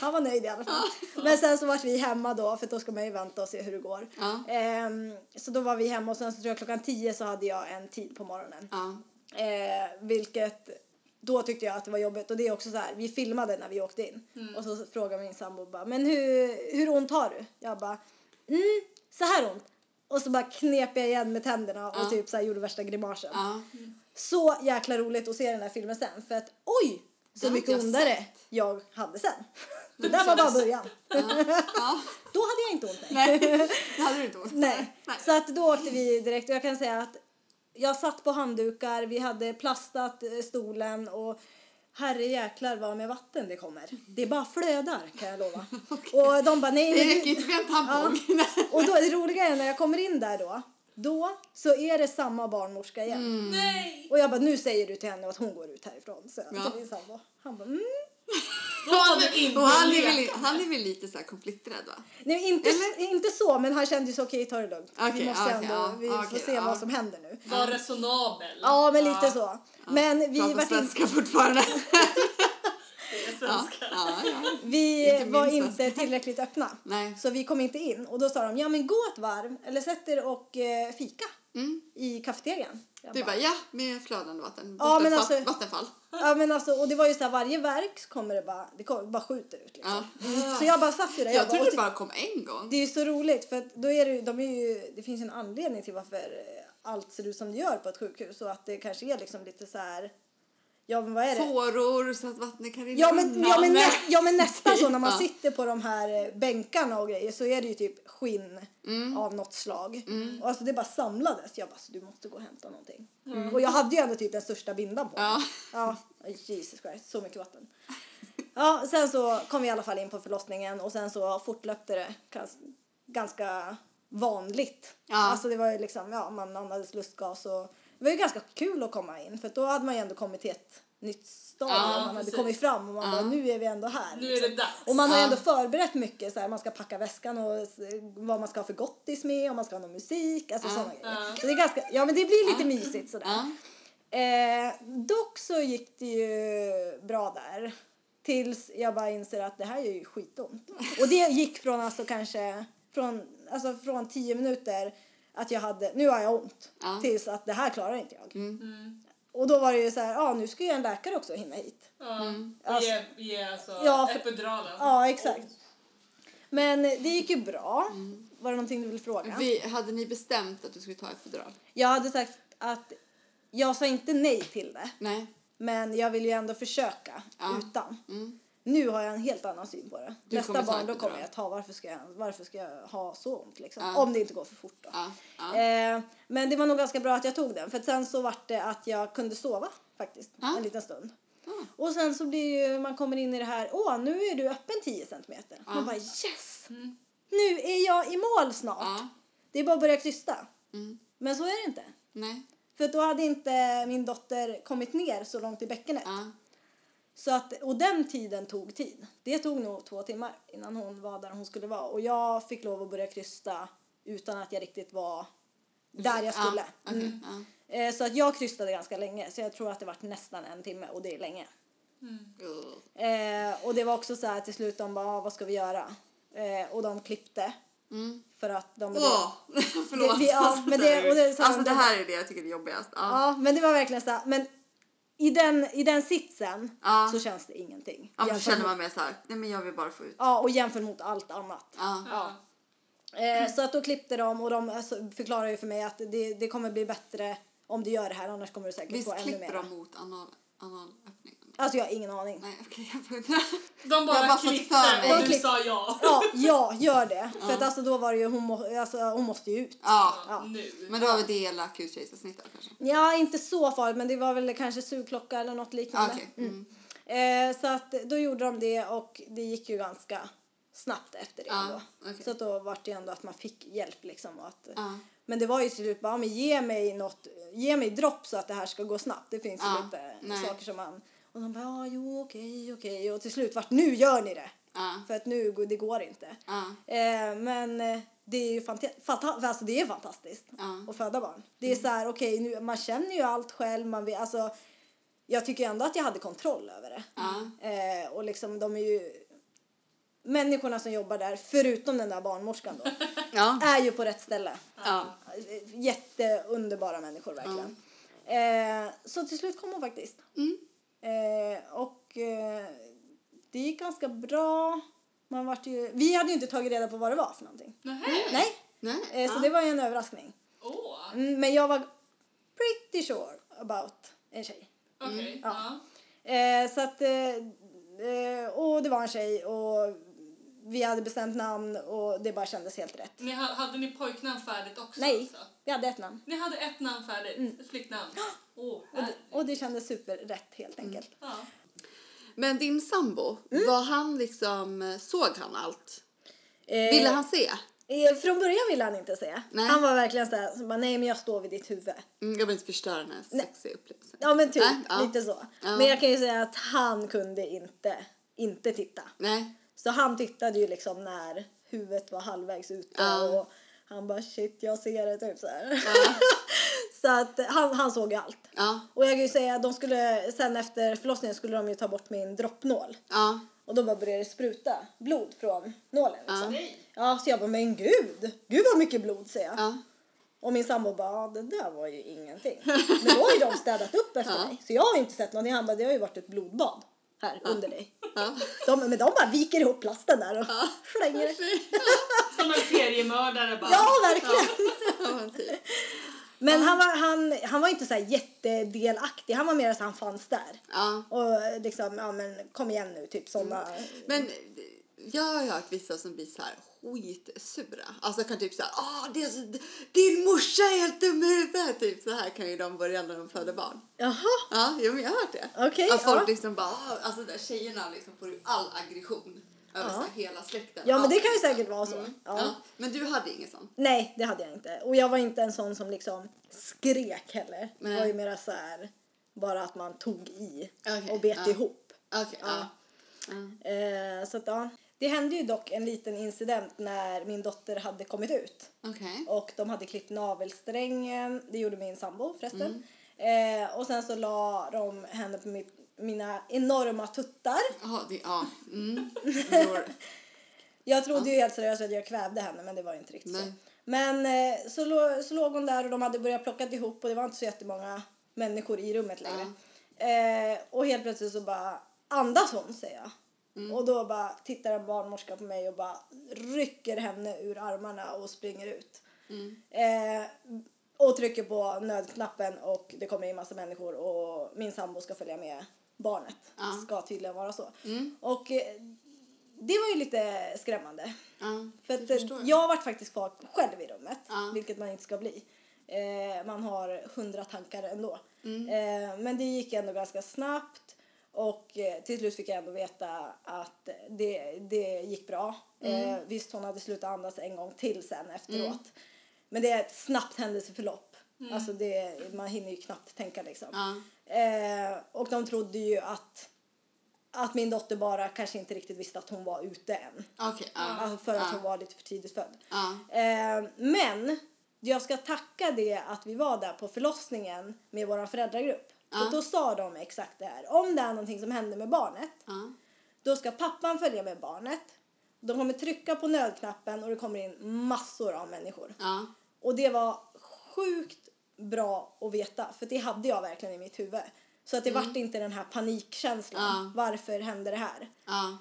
Han var nöjd i alla fall. Men sen så vart vi hemma då, för då ska man ju vänta och se hur det går. Ja. Ehm, så då var vi hemma och sen så tror jag klockan 10 så hade jag en tid på morgonen. Ja. Eh, vilket då tyckte jag att det var jobbigt och det är också så här, vi filmade när vi åkte in Mm. och så frågade min sambo bara, men hur, hur ont har du? Jag bara, mm, så här ont. Och så bara knep jag igen med tänderna och Ja. typ så här gjorde värsta grimasen. ja. Så jäkla roligt att se den här filmen sen för att oj, så Den har mycket inte jag ondare jag hade sen. Det där var bara början. ja. Då hade jag inte ont längre. Nej, det hade du inte gjort. Nej. Nej. Så att då åkte vi direkt och jag kan säga att jag satt på handdukar, vi hade plastat eh, stolen och herre jäklar vad med vatten det kommer. Det bara flödar kan jag lova. Och de bara nej. Det men räcker du- inte med en tampong. Nej. Och då, det roliga är när jag kommer in där då, då så är det samma barnmorska igen. Mm. Nej! Och jag bara nu säger du till henne att hon går ut härifrån. Så jag Ja. till min sambo. Han bara mm. Då hade vi inte Och han, är väl, lekat. han är väl lite så här konflikträdd va? Nej inte, inte så men han kände ju så okej ta det lugnt. vi Okej, måste okej, ändå, ja, vi får okej, se ja. vad som händer nu. Var resonabel. Ja men lite så. Men vi Pratar vart in, svenska fortfarande. Det är ja. svenska. Ja, ja. Vi Inte var minst inte tillräckligt öppna. Nej. Så vi kom inte in. Och då sa de, ja men gå ett varv eller sätt er och eh, fika Mm. i kafeterian. Jag Du bara ja, med flödande vatten. Ja, men Vattenfall. alltså- Vattenfall. Ja men alltså, och det var ju så här, varje verk så kommer det bara, det kommer, bara skjuter ut liksom. Så jag bara satt ju där. Jag, bara, trodde och det ty- bara kom en gång. Det är ju så roligt för att då är det, ju- de är ju, det finns ju en anledning till varför eh, allt ser ut som det gör på ett sjukhus och att det kanske är liksom lite så här, ja men vad är det? Fåror så att vattnet kan rinna Ja men, ja, men, undan. näst, ja, men nästan så när man Ja. sitter på de här eh, bänkarna och grejer så är det ju typ skinn Mm. av något slag. Och alltså det bara samlades. Jag bara, så du måste gå och hämta någonting. Och jag hade ju ändå typ den största bindan på mig. Mm. Ja. Ja, Jesus Christ, så mycket vatten. Ja, sen så kom vi i alla fall in på förlossningen och sen så fortlöpte det gans- ganska vanligt. Ja. Alltså det var ju liksom, ja man andades lustgas och det var ju ganska kul att komma in för då hade man ju ändå kommit till ett nytt stadium. Ja, man hade precis. kommit fram och man Ja. bara, nu är vi ändå här. liksom. Nu är det dags. Och man har ju Ja. ändå förberett mycket så här, man ska packa väskan och s- vad man ska ha för gottis med, om man ska ha någon musik, alltså Ja. sådana grejer. Så det är ganska, ja men det blir lite mysigt sådär. Ja. Eh, dock så gick det ju bra där. Tills jag bara inser att det här gör ju skitont. Och det gick från alltså kanske från, alltså från tio minuter att jag hade, nu har jag ont, Ja. tills att det här klarar inte jag. Och då var det ju så här, ja nu ska ju en läkare också hinna hit. Ja. Mm. Och Alltså- ge, ge alltså Ja, för- epiduralen. Ja, exakt. Men det gick ju bra. Var det någonting du ville fråga? Vi, hade ni bestämt att du skulle ta epidural? Jag hade sagt att jag sa inte nej till det, Nej. men jag vill ju ändå försöka Ja. utan. Mm. Nu har jag en helt annan syn på det. Du Nästa kommer ta barn då epidural. kommer jag ta varför ska jag, varför ska jag ha så ont liksom? Ja. Om det inte går för fort då. Ja. Ja. Eh, men det var nog ganska bra att jag tog den för att sen så vart det att jag kunde sova faktiskt Ja. en liten stund. Ja. Och sen så blir ju, man kommer in i det här, åh nu är du öppen 10 centimeter. Man bara yes! Nu är jag i mål snart. Mm. Ja. Det är bara att börja krysta. Mm. Men så är det inte. Nej. För att då hade inte min dotter kommit ner så långt i bäckenet. Ja. Så att, och den tiden tog tid. Det tog nog två timmar innan hon var där hon skulle vara. Och jag fick lov att börja krysta utan att jag riktigt var där jag skulle. Ja. okej, Mm. ja. Eh, Så att jag krystade ganska länge. Så jag tror att det var nästan en timme och det är länge. Ugh. Eh, och det var också så här till slut de bara, "Ah, vad ska vi göra? Eh, och de klippte. Mm. För att de... Åh, förlåt. Det- det- ja, Alltså, men det- och det är så här- alltså det här är det jag tycker är jobbigast. Ja. Ja, men det var verkligen så här. Men i den, i den sitsen Ja. så känns det ingenting. Ja, men då Jämfört känner mot- man mer så här, nej men jag vill bara få ut. ja, och jämför mot allt annat. Ja. Ja. Eh, så att då klippte de och de alltså, förklarade ju för mig att det, det kommer bli bättre om du gör det här annars kommer du säkert få Visst ännu klipper mer. de mot anal, analöppningen? Alltså jag har ingen aning. Nej okej, jag får inte. De Jag bara, har bara fått klippte för mig. och De du klipp- sa ja. Ja, ja, gör det. För att alltså då var det ju, hon, må, alltså, hon måste ju ut. Ja, Nu. men då har vi det hela akutfejsavsnittet kanske. Ja, inte så farligt men det var väl kanske sugklocka eller något liknande. Okej. Mm. Eh, så att då gjorde de det och det gick ju ganska snabbt efter det Ja, ändå. okej. Så att då var det ju ändå att man fick hjälp liksom. Och att, Ja. Men det var ju till slut bara, ja, men ge mig något, ge mig dropp så att det här ska gå snabbt. Det finns Ja, ju lite nej. saker som man, och de bara, ja jo okej okej och till slut vart, nu gör ni det! Ja. För att nu, går- det går inte. Ja. Eh, men eh, det är ju fanta- fanta- alltså det är fantastiskt Ja. Mm. att föda barn. Det är så här, okej, nu, man känner ju allt själv. Man vet, alltså, jag tycker ändå att jag hade kontroll över det. Ja. Eh, och liksom, de är ju... Människorna som jobbar där, förutom den där barnmorskan då, Ja. är ju på rätt ställe. Ja. Jätteunderbara människor verkligen. Eh, så till slut kom hon faktiskt. Eh, och eh, det gick ganska bra. Man vart ju, vi hade ju inte tagit reda på vad det var för någonting. Mm. Nähä? Nej, Nej. eh, så Ja. det var ju en överraskning. Åh! Mm, Men jag var pretty sure about en tjej. Okej. ja. Ja. Eh, så att, eh, eh, och det var en tjej och vi hade bestämt namn och det bara kändes helt rätt. Ni, ha- hade ni pojknamn färdigt också? Nej, Alltså? vi hade ett namn. Ni hade ett namn färdigt, ett flicknamn. Åh, Och här. det, och det kändes superrätt helt enkelt. ja. Men din sambo, Mm. var han liksom, såg han allt? Eh, Ville han se? eh, från början ville han inte säga. Nej. Han var verkligen så här, så bara, nej men jag står vid ditt huvud. Mm, jag vill inte förstöra den här sexiga upplevelsen. Ja men typ, Nej, ja. lite så. Ja. Men jag kan ju säga att han kunde inte, inte titta. Nej. Så han tittade ju liksom när huvudet var halvvägs ute Ja. och han bara shit jag ser det typ så här. så att han, han såg ju allt. Ja. Och jag kan ju säga de skulle, sen efter förlossningen skulle de ju ta bort min droppnål. Ja. Och då bara började det spruta blod från nålen liksom. Ja. Nej. så jag bara men gud, gud vad mycket blod säger jag. Ja. Och min sambo bara ja, det där var ju ingenting. Men då har ju de städat upp efter mig. Så jag har ju inte sett någonting. Han bara det har ju varit ett blodbad här under dig. Ja. De, men de bara viker ihop plasten där och slänger det. Som en seriemördare bara. Ja, verkgen. ja men typ. Men han var, han, han var inte så här jättedelaktig. Han var mer så han fanns där. Ja. Mm. Och liksom, ja men kom igen nu, typ sådana. Men jag har hört vissa som blir så här skitsura. Alltså kan typ såhär, ah det är så, din morsa är helt dum i huvudet. Typ så här kan ju de börja när de föder barn. Jaha. Ja, jo, men jag har hört det. Okej, att folk ja. liksom bara, ah, alltså där tjejerna liksom får ju all aggression över så här hela släkten. Ja men det Allt kan ju liksom. säkert vara så. Ja. Ja. Men du hade ingen sån? Nej, det hade jag inte. Och jag var inte en sån som liksom skrek heller. Nej. Det var ju mera så här bara att man tog i Okej, och bet ja. ihop. Okej, Ja. ja. Eh, så att, ja. Det hände ju dock en liten incident när min dotter hade kommit ut. Okej. Och de hade klippt navelsträngen. Det gjorde min sambo förresten. Mm. Eh, och sen så la de henne på mitt, mina enorma tuttar. Jaha, det, ja. Mm. Bror. Jag trodde ju helt seriöst att jag kvävde henne men det var inte riktigt så. Nej. Men eh, så, lå- så låg hon där och de hade börjat plocka ihop och det var inte så jättemånga människor i rummet längre. Eh, och helt plötsligt så bara andas hon säger jag. Och då bara tittar en barnmorska på mig och bara rycker henne ur armarna och springer ut. Eh, och trycker på nödknappen och det kommer in massa människor och min sambo ska följa med barnet. Ska tydligen vara så. Och eh, det var ju lite skrämmande. Ja, För det att eh, förstår jag. jag varit faktiskt kvar själv i rummet, Ja. vilket man inte ska bli. Eh, man har hundra tankar ändå. Mm. Eh, men det gick ändå ganska snabbt och eh, till slut fick jag ändå veta att det, det gick bra. Mm. Eh, visst, hon hade slutat andas en gång till sen efteråt. Men det är ett snabbt händelseförlopp. Alltså det, man hinner ju knappt tänka liksom. Mm. Ja. Eh, och de trodde ju att, att min dotter bara kanske inte riktigt visste att hon var ute än. Okej, ja. Alltså för att Ja. hon var lite för tidigt född. Ja. Eh, men jag ska tacka det att vi var där på förlossningen med vår föräldragrupp. För då sa de exakt det här. Om det är någonting som händer med barnet, Ja. då ska pappan följa med barnet. De kommer trycka på nödknappen och det kommer in massor av människor. Ja. Och det var sjukt bra att veta, för det hade jag verkligen i mitt huvud. Så att det Mm. vart inte den här panikkänslan. Varför hände det här? Ja.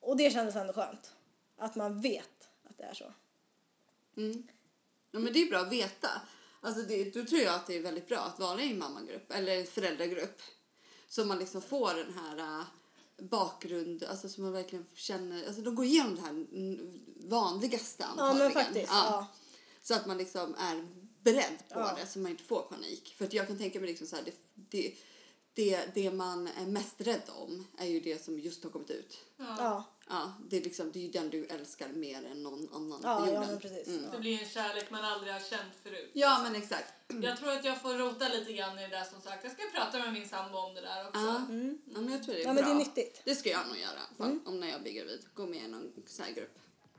Och det kändes ändå skönt. Att man vet att det är så. Ja, men det är bra att veta. Alltså det, då tror jag att det är väldigt bra att vara i en mammagrupp eller en föräldragrupp. Så man liksom får den här äh, bakgrund, alltså så man verkligen känner, alltså de går igenom det här mm, vanligaste antagligen. men faktiskt, ja. Så att man liksom är beredd på Ja. det så man inte får panik. För att jag kan tänka mig liksom så här, det, det, det, det man är mest rädd om är ju det som just har kommit ut. Ja. Ja, Ja, det, är liksom, det är ju den du älskar mer än någon annan på ja, ja jorden. men precis. Mm. Det blir en kärlek man aldrig har känt förut. Ja, men exakt. Jag tror att jag får rota lite grann i det där som sagt. Jag ska prata med min sambo om det där också. Ja. ja, men jag tror det Mm. Ja, är bra. men det är nyttigt. Mm. Det ska jag nog göra fan, om när jag blir gravid. Gå med i någon sån här grupp.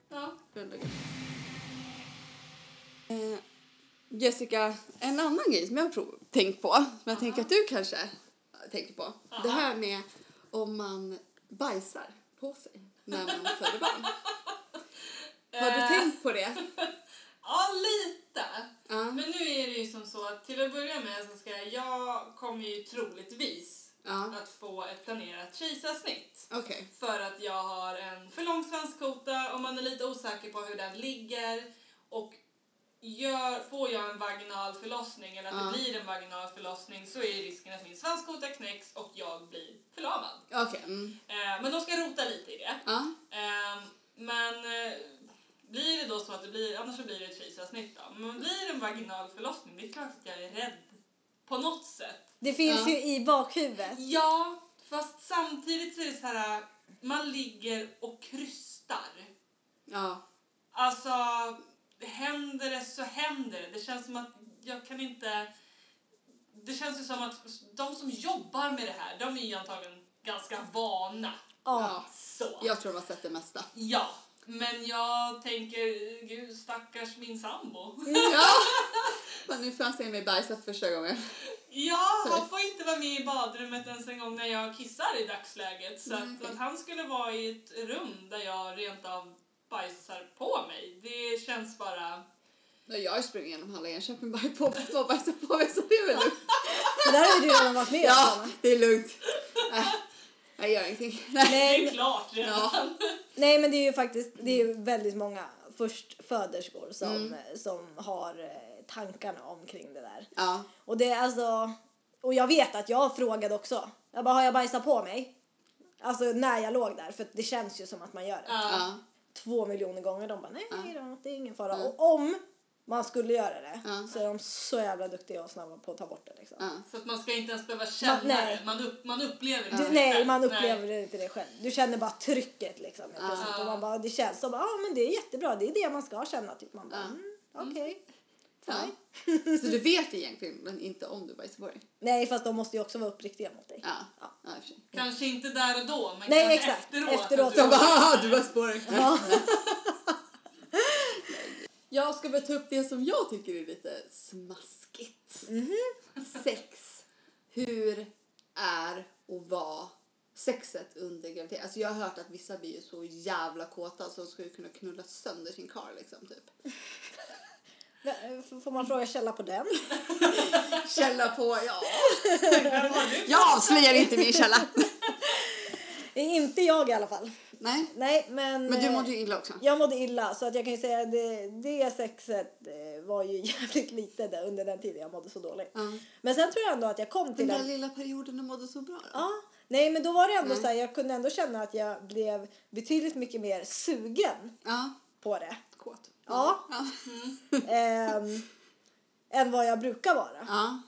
Ja. Föräldragrupp. Eh, Jessica, en annan grej som jag har prov- tänkt på, som jag tänker att du kanske tänker på. Det här med om man bajsar på sig när man föder barn. Har du Eh. tänkt på det? Ja, lite. Ja. Men nu är det ju som så att till att börja med så ska jag, jag kommer ju troligtvis Ja. att få ett planerat kejsarsnitt. Okej. För att jag har en för lång svanskota och man är lite osäker på hur den ligger. Och gör, får jag en vaginal förlossning eller att Ja. det blir en vaginal förlossning så är risken att min svanskota knäcks och jag blir förlamad. Okej. Mm. Eh, men de ska rota lite i det. Ja. Ehm, men eh, blir det då så att det blir, annars så blir det ett kejsarsnitt då. Men blir det en vaginal förlossning, det är klart att jag är rädd. På något sätt. Det finns Ja. ju i bakhuvudet. Ja, fast samtidigt så är det så här, man ligger och krystar. Ja. Alltså, händer det så händer det. Det känns som att jag kan inte... Det känns ju som att de som jobbar med det här, de är ju antagligen ganska vana. Ja. Så. Jag tror de har sett det mesta. Ja, men jag tänker, gud stackars min sambo. Ja! Men nu får han se mig bajsa för första gången. Ja, han får inte vara med i badrummet ens en gång när jag kissar i dagsläget. Så Mm, Nej. att, att han skulle vara i ett rum där jag rent av bajsar på mig, det känns bara... Ja, Jag har ju sprungit genom hela Enköping bara på och bajsat på mig så det är väl lugnt. Det där har ju du redan varit med Ja, om. det är lugnt. Äh, jag gör ingenting. Nej. Det Nej, är klart redan. Ja, Nej men det är ju faktiskt det är ju väldigt många förstföderskor som, som har eh, tankarna omkring det där. ja, Och det är alltså, och jag vet att jag frågade också. Jag bara, har jag bajsat på mig? Alltså när jag låg där, för att det känns ju som att man gör det. Ja. ja, Två miljoner gånger. De bara, nej då, det är ingen fara. Ja. Och om man skulle göra det Ja. så är de så jävla duktiga och snabba på att ta bort det liksom. ja. Så att man ska inte ens behöva känna Man- nej. det, man, upp, man upplever det. Du, inte. nej, man upplever inte det själv. Du känner bara trycket liksom. helt Ja. plötsligt. Och man bara, det känns som, ja ah, men det är jättebra, det är det man ska känna. Typ. Man bara, Ja. mm, okej. ja. Så du vet egentligen men inte om du bajsar på dig? Nej, fast de måste ju också vara uppriktiga mot dig. Ja, ja i och för sig. Kanske inte där och då, men Nej, kanske exakt. efteråt. att Efteråt. du- De bara "Haha, Ah, du bajsar på dig. Ja. Jag ska bara ta upp det som jag tycker är lite smaskigt. Mhm. Sex. Hur är och var sexet under graviditet? Alltså jag har hört att vissa blir ju så jävla kåta så de skulle kunna knulla sönder sin karl liksom typ. F- Får man fråga källa på den? Källa på, ja. Jag avslöjar inte min källa. inte jag i alla fall. Nej, Nej, men... men du eh, mådde ju illa också. Jag mådde illa, så att jag kan ju säga att det, det sexet eh, var ju jävligt lite där under den tiden jag mådde så dåligt. Ja. Men sen tror jag ändå att jag kom Den till där en lilla perioden du mådde så bra då. Ja, nej men då var det ändå Nej. så här, jag kunde ändå känna att jag blev betydligt mycket mer sugen Ja, på det. kåt. Ja. ehm, än vad jag brukar vara. Ja.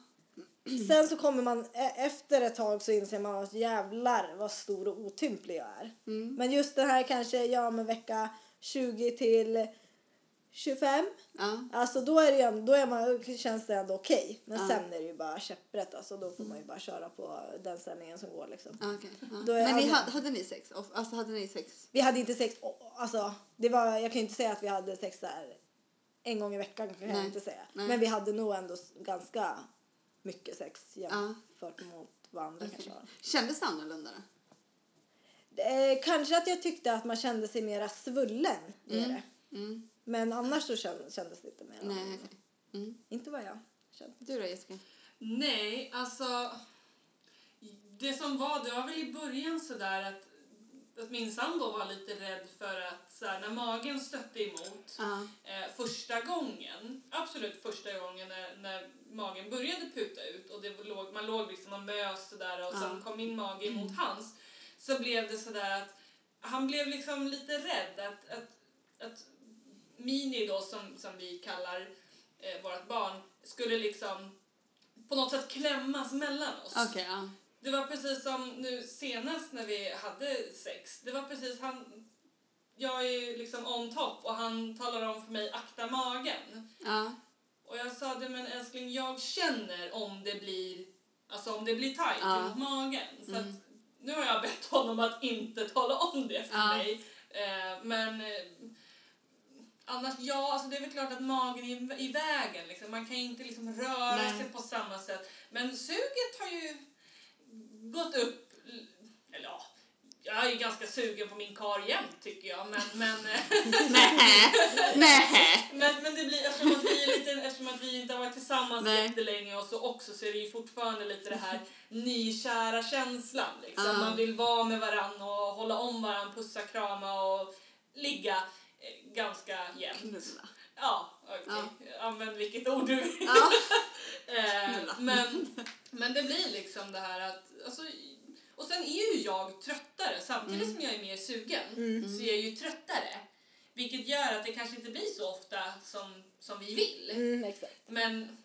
Mm. Sen så kommer man, e- efter ett tag så inser man att jävlar vad stor och otymplig jag är. Mm. Men just den här kanske, ja men vecka 20 till 25. Ja. Alltså då är det ju, ändå- då är man, då känns det ändå okej. Men Ja. Mm. sen är det ju bara käpprätt alltså. Då får man ju bara köra på den sändningen som går liksom. Ja, okej. ja. Då är Men ni jag- hade, hade ni sex? Alltså hade ni sex? Vi hade inte sex, å- alltså det var, jag kan ju inte säga att vi hade sex så här en gång i veckan kan jag Nej. inte säga. Nej. Men vi hade nog ändå s- ganska mycket sex Ja. Mm. jämfört mot vad andra kanske har. Kändes det annorlunda då? Eh, kanske att jag tyckte att man kände sig mera svullen i det. Mm. Men annars så kän- kändes det inte mer. Nej, okej. Mm. Inte vad jag kände. Du då Jessica? Nej, alltså... Det som var, det var väl i början sådär att, att min sambo var lite rädd för att så här, när magen stötte emot Ja. eh, första gången, absolut första gången när, när magen började puta ut och det låg, man låg liksom och mös sådär och Ja. sen kom min mage emot hans så blev det sådär att han blev liksom lite rädd att, att, att Mini då som, som vi kallar eh, vårt barn skulle liksom på något sätt klämmas mellan oss. Okej, ja. Det var precis som nu senast när vi hade sex. Det var precis han... Jag är ju liksom on top och han talar om för mig akta magen. Ja. Och jag sa det men älskling jag känner om det blir alltså om det blir tajt Ja. Mm. runt magen. Så att, nu har jag bett honom att inte tala om det för Ja. mig. Eh, men eh, annars ja, alltså det är väl klart att magen är i- i vägen liksom. Man kan ju inte liksom röra Nej. sig på samma sätt. Men suget har ju gått upp eller ja, jag är ju ganska sugen på min kar jämt tycker jag men, men eh, Nej. Nej. men, men det blir, eftersom, att vi är lite, eftersom att vi inte har varit tillsammans Nej. jättelänge och så också så är det ju fortfarande lite det här nykära känslan. Liksom. Ja. Man vill vara med varann och hålla om varann, pussa, krama och ligga eh, ganska jämt. Knulla. Ja, okej. Använd vilket ord du vill. Ja. Eh, Knulla. men, men det blir liksom det här att... Alltså, och sen är ju jag tröttare. Samtidigt som jag är mer sugen så är jag ju tröttare. Vilket gör att det kanske inte blir så ofta som, som vi vill. Mm, exakt. Men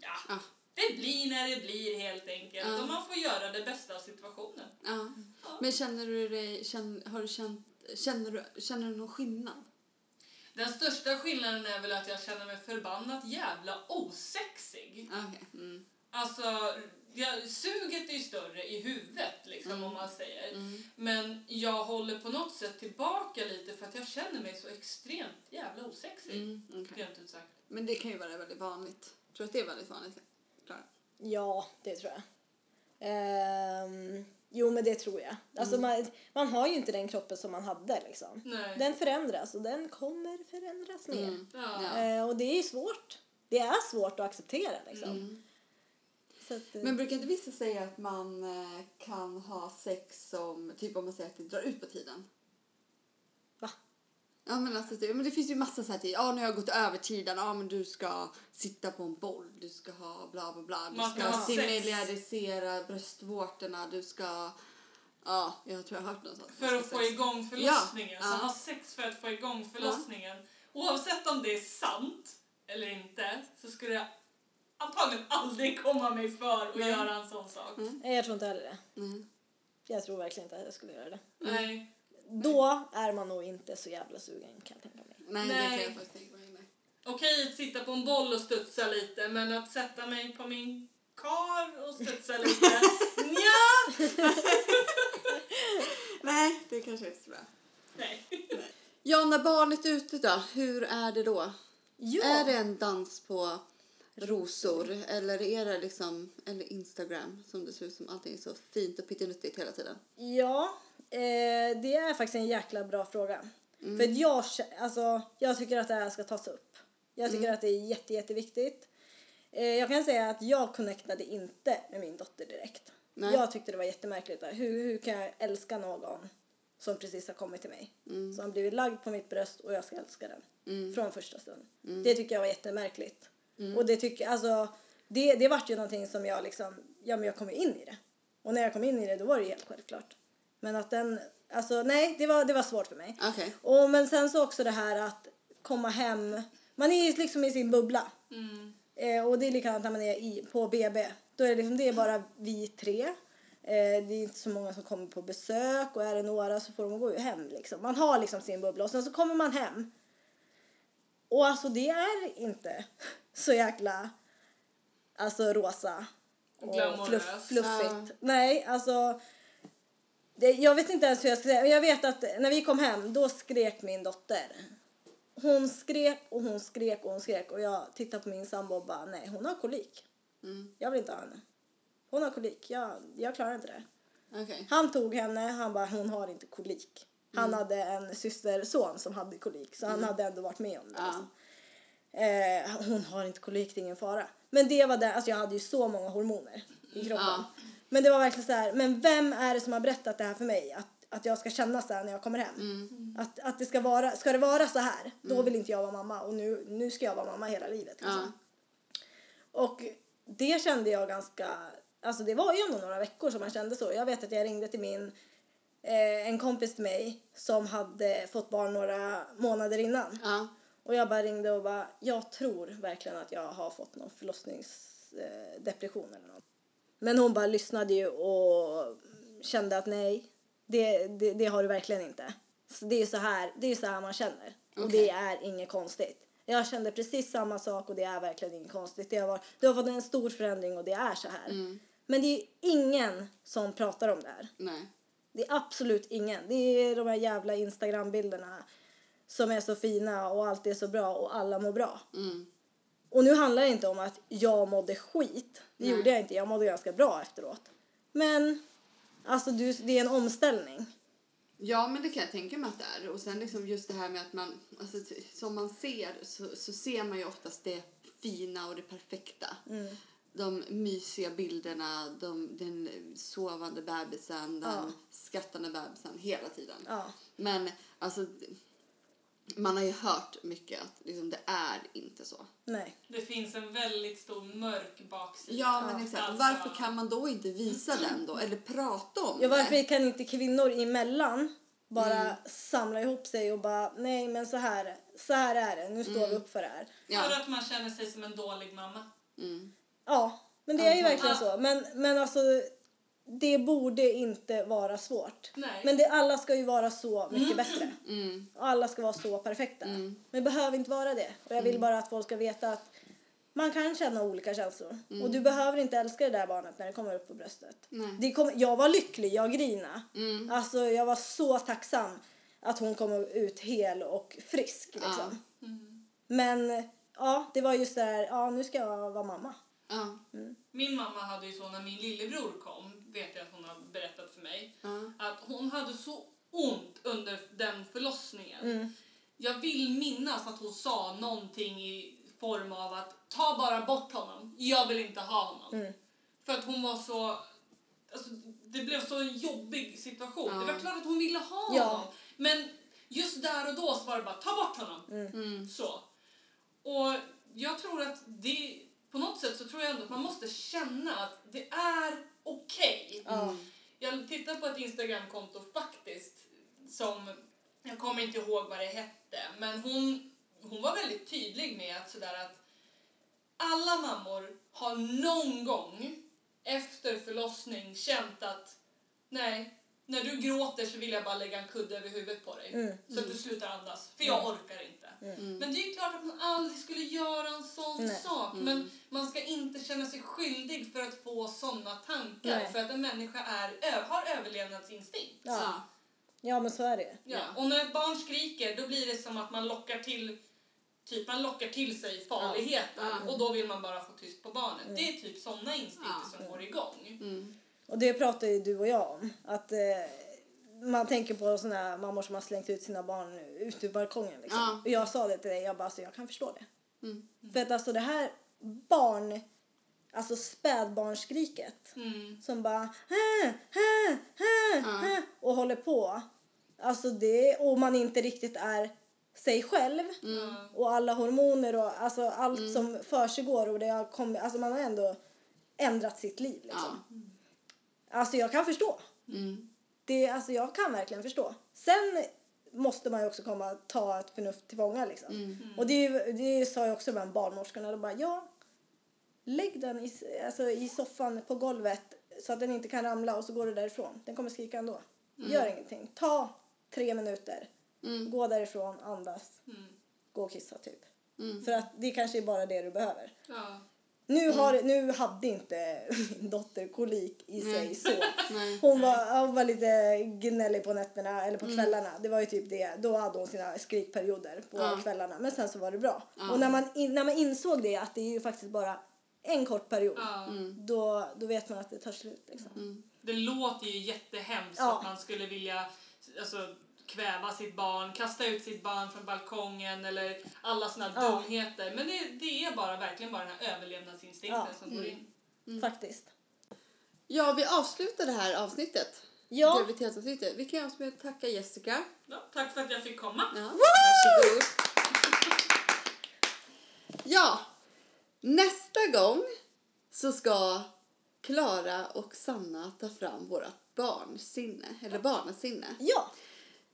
ja, Ja. det blir när det blir helt enkelt. Ja. Och man får göra det bästa av situationen. ja. Men känner du dig, känner, har du känt, känner du, känner du någon skillnad? Den största skillnaden är väl att jag känner mig förbannat jävla osexig. Ja, Okej. Mm. Alltså, jag, suget är ju större i huvudet liksom om man säger. Mm. Men jag håller på något sätt tillbaka lite för att jag känner mig så extremt jävla osexig. Mm. okej. Rent ut sagt. Men det kan ju vara väldigt vanligt. Tror du att det är väldigt vanligt? Klara? Ja, det tror jag. Ehm, jo, men det tror jag. Alltså, Mm. man, man har ju inte den kroppen som man hade. Liksom. Nej. Den förändras och den kommer förändras mer. Mm. Ja. Ja. Eh, och det är ju svårt. Det är svårt att acceptera. Liksom. Så att, eh, Mm. Men brukar inte vissa säga att man eh, kan ha sex som, typ om man säger att det drar ut på tiden? Va? Ja men alltså det, men det finns ju massa så här tid. Ja nu har jag gått över tiden. Ja men du ska sitta på en boll. Du ska ha bla bla bla. Man Du ska ska ha sex. sterilisera bröstvårtorna. Du ska... Ja, jag tror jag har hört något sånt. För att få igång förlossningen. Ja. Så Ja. ha sex för att få igång förlossningen. Oavsett om det är sant eller inte så skulle jag antagligen aldrig komma mig för att Nej. göra en sån sak. nej, jag tror inte heller det. Mm. Jag tror verkligen inte att jag skulle göra det. Nej. Då är man nog inte så jävla sugen kan jag tänka mig. Nej, det Nej. kan jag faktiskt tänka mig. Nej. Okej att sitta på en boll och studsa lite men att sätta mig på min kar och studsa lite? Nja! Nej, det kanske inte är så bra. Nej. Ja, när barnet är ute då, hur är det då? Ja. Är det en dans på rosor eller är det liksom eller Instagram som det ser ut som allting är så fint och pyttinuttigt hela tiden? Ja, eh, det är faktiskt en jäkla bra fråga. För att jag, kä- alltså, jag tycker att det här ska tas upp. Jag tycker att det är jätte, jätteviktigt. Eh, jag kan säga att jag connectade inte med min dotter direkt. Nej. Jag tyckte det var jättemärkligt. där. Hur, hur kan jag älska någon som precis har kommit till mig? Som har blivit lagd på mitt bröst och jag ska älska den. Från första stund. Det tycker jag var jättemärkligt. Och det tycker, alltså, det, det vart ju någonting som jag liksom, ja men jag kom ju in i det. Och när jag kom in i det då var det ju helt självklart. Men att den, alltså nej det var, det var svårt för mig. Okej. Och men sen så också det här att komma hem, man är ju liksom i sin bubbla. Eh, och det är likadant när man är i, på BB. Då är det, liksom, det är bara vi tre. Eh, det är inte så många som kommer på besök och är det några så får de gå hem. Liksom. Man har liksom sin bubbla och sen så kommer man hem. Och alltså det är inte så jäkla alltså rosa och Glamoröst. fluff, fluffigt. Nej, alltså det, jag vet inte ens hur jag ska säga. Jag vet att när vi kom hem, då skrek min dotter. Hon skrek och hon skrek och hon skrek och jag tittade på min sambo och bara nej, hon har kolik. Jag vill inte ha henne. Hon har kolik, jag, jag klarar inte det. Okej. Han tog henne, han bara hon har inte kolik. Han hade en systerson som hade kolik så han hade ändå varit med om det. Ja. Liksom. Eh, hon har inte kolik, det är ingen fara. Men det var det, alltså jag hade ju så många hormoner i kroppen. Mm, Ja. Men det var verkligen så här, men vem är det som har berättat det här för mig? Att, att jag ska känna så här när jag kommer hem. Mm. Att, att det ska vara, ska det vara så här, då vill inte jag vara mamma och nu, nu ska jag vara mamma hela livet. Liksom. Ja. Och det kände jag ganska, alltså det var ju ändå några veckor som man kände så. Jag vet att jag ringde till min, eh, en kompis till mig som hade fått barn några månader innan. Ja. Och jag bara ringde och bara, jag tror verkligen att jag har fått någon förlossningsdepression eh, depression eller något. Men hon bara lyssnade ju och kände att nej, det, det, det har du verkligen inte. Så det är ju så här, det är ju så här man känner. Och Okej. det är inget konstigt. Jag kände precis samma sak och det är verkligen inget konstigt. Det har varit, du har fått en stor förändring och det är så här. Men det är ju ingen som pratar om det här. Nej. Det är absolut ingen. Det är de här jävla Instagram-bilderna som är så fina och allt är så bra och alla mår bra. Mm. Och nu handlar det inte om att jag mådde skit. Det Nej. gjorde jag inte. Jag mådde ganska bra efteråt. Men alltså du, det är en omställning. Ja, men det kan jag tänka mig att det är. Och sen liksom just det här med att man, alltså t- som man ser så, så ser man ju oftast det fina och det perfekta. De mysiga bilderna, de, den sovande bebisen, den Ja. skrattande bebisen hela tiden. Ja. Men alltså, man har ju hört mycket att liksom, det är inte så. Nej. Det finns en väldigt stor mörk baksida. Ja, men exakt. Alltså- Varför kan man då inte visa den då? Eller prata om Ja, det? varför kan inte kvinnor emellan bara Mm. samla ihop sig och bara nej men så här, så här är det. Nu står Mm. vi upp för det här. Ja. För att man känner sig som en dålig mamma. Ja, men det är ju Antagligen. verkligen så. Men, men alltså, det borde inte vara svårt. Nej. Men det, alla ska ju vara så Mm. mycket bättre. Och alla ska vara så perfekta. Men det behöver inte vara det. Och Mm. jag vill bara att folk ska veta att man kan känna olika känslor. Och du behöver inte älska det där barnet när det kommer upp på bröstet. Mm. Nej. Mm. Det kom, jag var lycklig, jag grina. Alltså jag var så tacksam att hon kom ut hel och frisk liksom. Mm. Men ja, det var just det här, ja nu ska jag vara mamma. Ja. Min mamma hade ju så när min lillebror kom, vet jag att hon har berättat för mig, att hon hade så ont under den förlossningen. Jag vill minnas att hon sa någonting i form av att ta bara bort honom, jag vill inte ha honom. För att hon var så, alltså, det blev så en jobbig situation. Det var klart att hon ville ha Ja. honom, men just där och då så var det bara ta bort honom. Så. Och jag tror att det, på något sätt så tror jag ändå att man måste känna att det är okej. Jag tittar på ett Instagramkonto faktiskt som, jag kommer inte ihåg vad det hette, men hon, hon var väldigt tydlig med att sådär att alla mammor har någon gång efter förlossning känt att nej, när du gråter så vill jag bara lägga en kudde över huvudet på dig Mm. så att du slutar andas, för jag orkar inte. Men det är ju klart att man aldrig skulle göra en sån Nej. sak, men man ska inte känna sig skyldig för att få såna tankar, Nej. för att en människa är, ö- har överlevnadsinstinkt. Ja. Ja, men så är det ju. Ja. Ja. Och när ett barn skriker då blir det som att man lockar till typ man lockar till sig farligheten Ja. och då vill man bara få tyst på barnet. Det är typ såna instinkter Ja. som går igång. Och det pratar ju du och jag om. Att eh, man tänker på sådana här mammor som har slängt ut sina barn ut ur balkongen. Liksom. Ja. Mm. Och jag sa det till dig, jag bara, alltså, jag kan förstå det. För att alltså det här barn, alltså spädbarnsskriket Mm. som bara "Hä, hä, hä, hä", och håller på. Alltså det, och man inte riktigt är sig själv Mm. och alla hormoner och alltså allt som försiggår och det har kommit, alltså man har ändå ändrat sitt liv liksom. Ja. Alltså jag kan förstå. Det, alltså jag kan verkligen förstå. Sen måste man ju också komma ta ett förnuft till fånga liksom. Och det, är ju- det sa jag också bland barnmorskorna. De bara ja, lägg den i, s- alltså, i soffan på golvet så att den inte kan ramla och så går du därifrån. Den kommer skrika ändå. Gör ingenting. Ta tre minuter. Gå därifrån, andas. Gå och kissa typ. För att det kanske är bara det du behöver. Ja. Nu, har, nu hade inte min dotter kolik i sig så. Nej. Hon var, hon var lite gnällig på nätterna eller på Mm. kvällarna. Det var ju typ det. Då hade hon sina skrikperioder på Ja. kvällarna. Men sen så var det bra. Och när man, in, när man insåg det att det är ju faktiskt bara en kort period. Ja. Då, då vet man att det tar slut liksom. Mm. Det låter ju jättehemskt Ja. att man skulle vilja alltså, kväva sitt barn, kasta ut sitt barn från balkongen eller alla såna Ja. dumheter. Men det, det är bara verkligen bara den här överlevnadsinstinkten Ja. Mm. som går in. Mm. Faktiskt. Ja, vi avslutar det här avsnittet. Ja. Graviditetsavsnittet. Vi kan göra oss med att tacka Jessica. Ja, tack för att jag fick komma. Ja, varsågod. Ja, nästa gång så ska Klara och Sanna ta fram vårat barnsinne, eller barnasinne. Ja,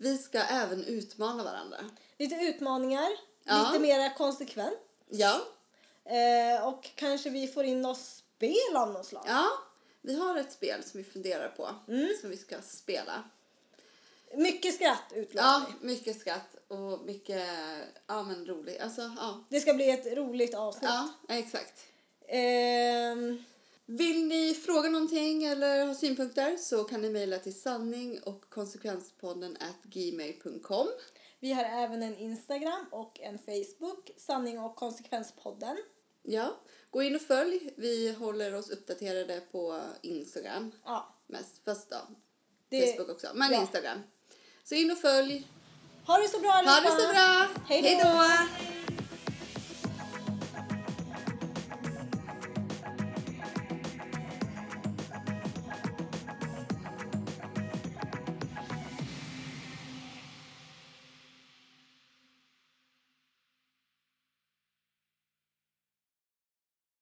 Vi ska även utmana varandra. lite utmaningar. Ja. Lite mera konsekvent. Ja, Eh, och kanske vi får in något spel av något slag. ja. Vi har ett spel som vi funderar på, som vi ska spela. Mycket skratt utlovar Ja, vi. mycket skratt och mycket, ja men roligt. Alltså, ja. Det ska bli ett roligt avsnitt. Ja, exakt. Ehm, Vill ni fråga någonting eller ha synpunkter så kan ni mejla till sanning och konsekvenspodden at gmail.com. vi har även en Instagram och en Facebook, Sanning och konsekvenspodden. Ja, gå in och följ. Vi håller oss uppdaterade på Instagram Ja. mest, fast ja, Det- Facebook också, men ja. Instagram. Så in och följ. Ha det så bra Ha allihopa! det så bra! Hej då. Hej då.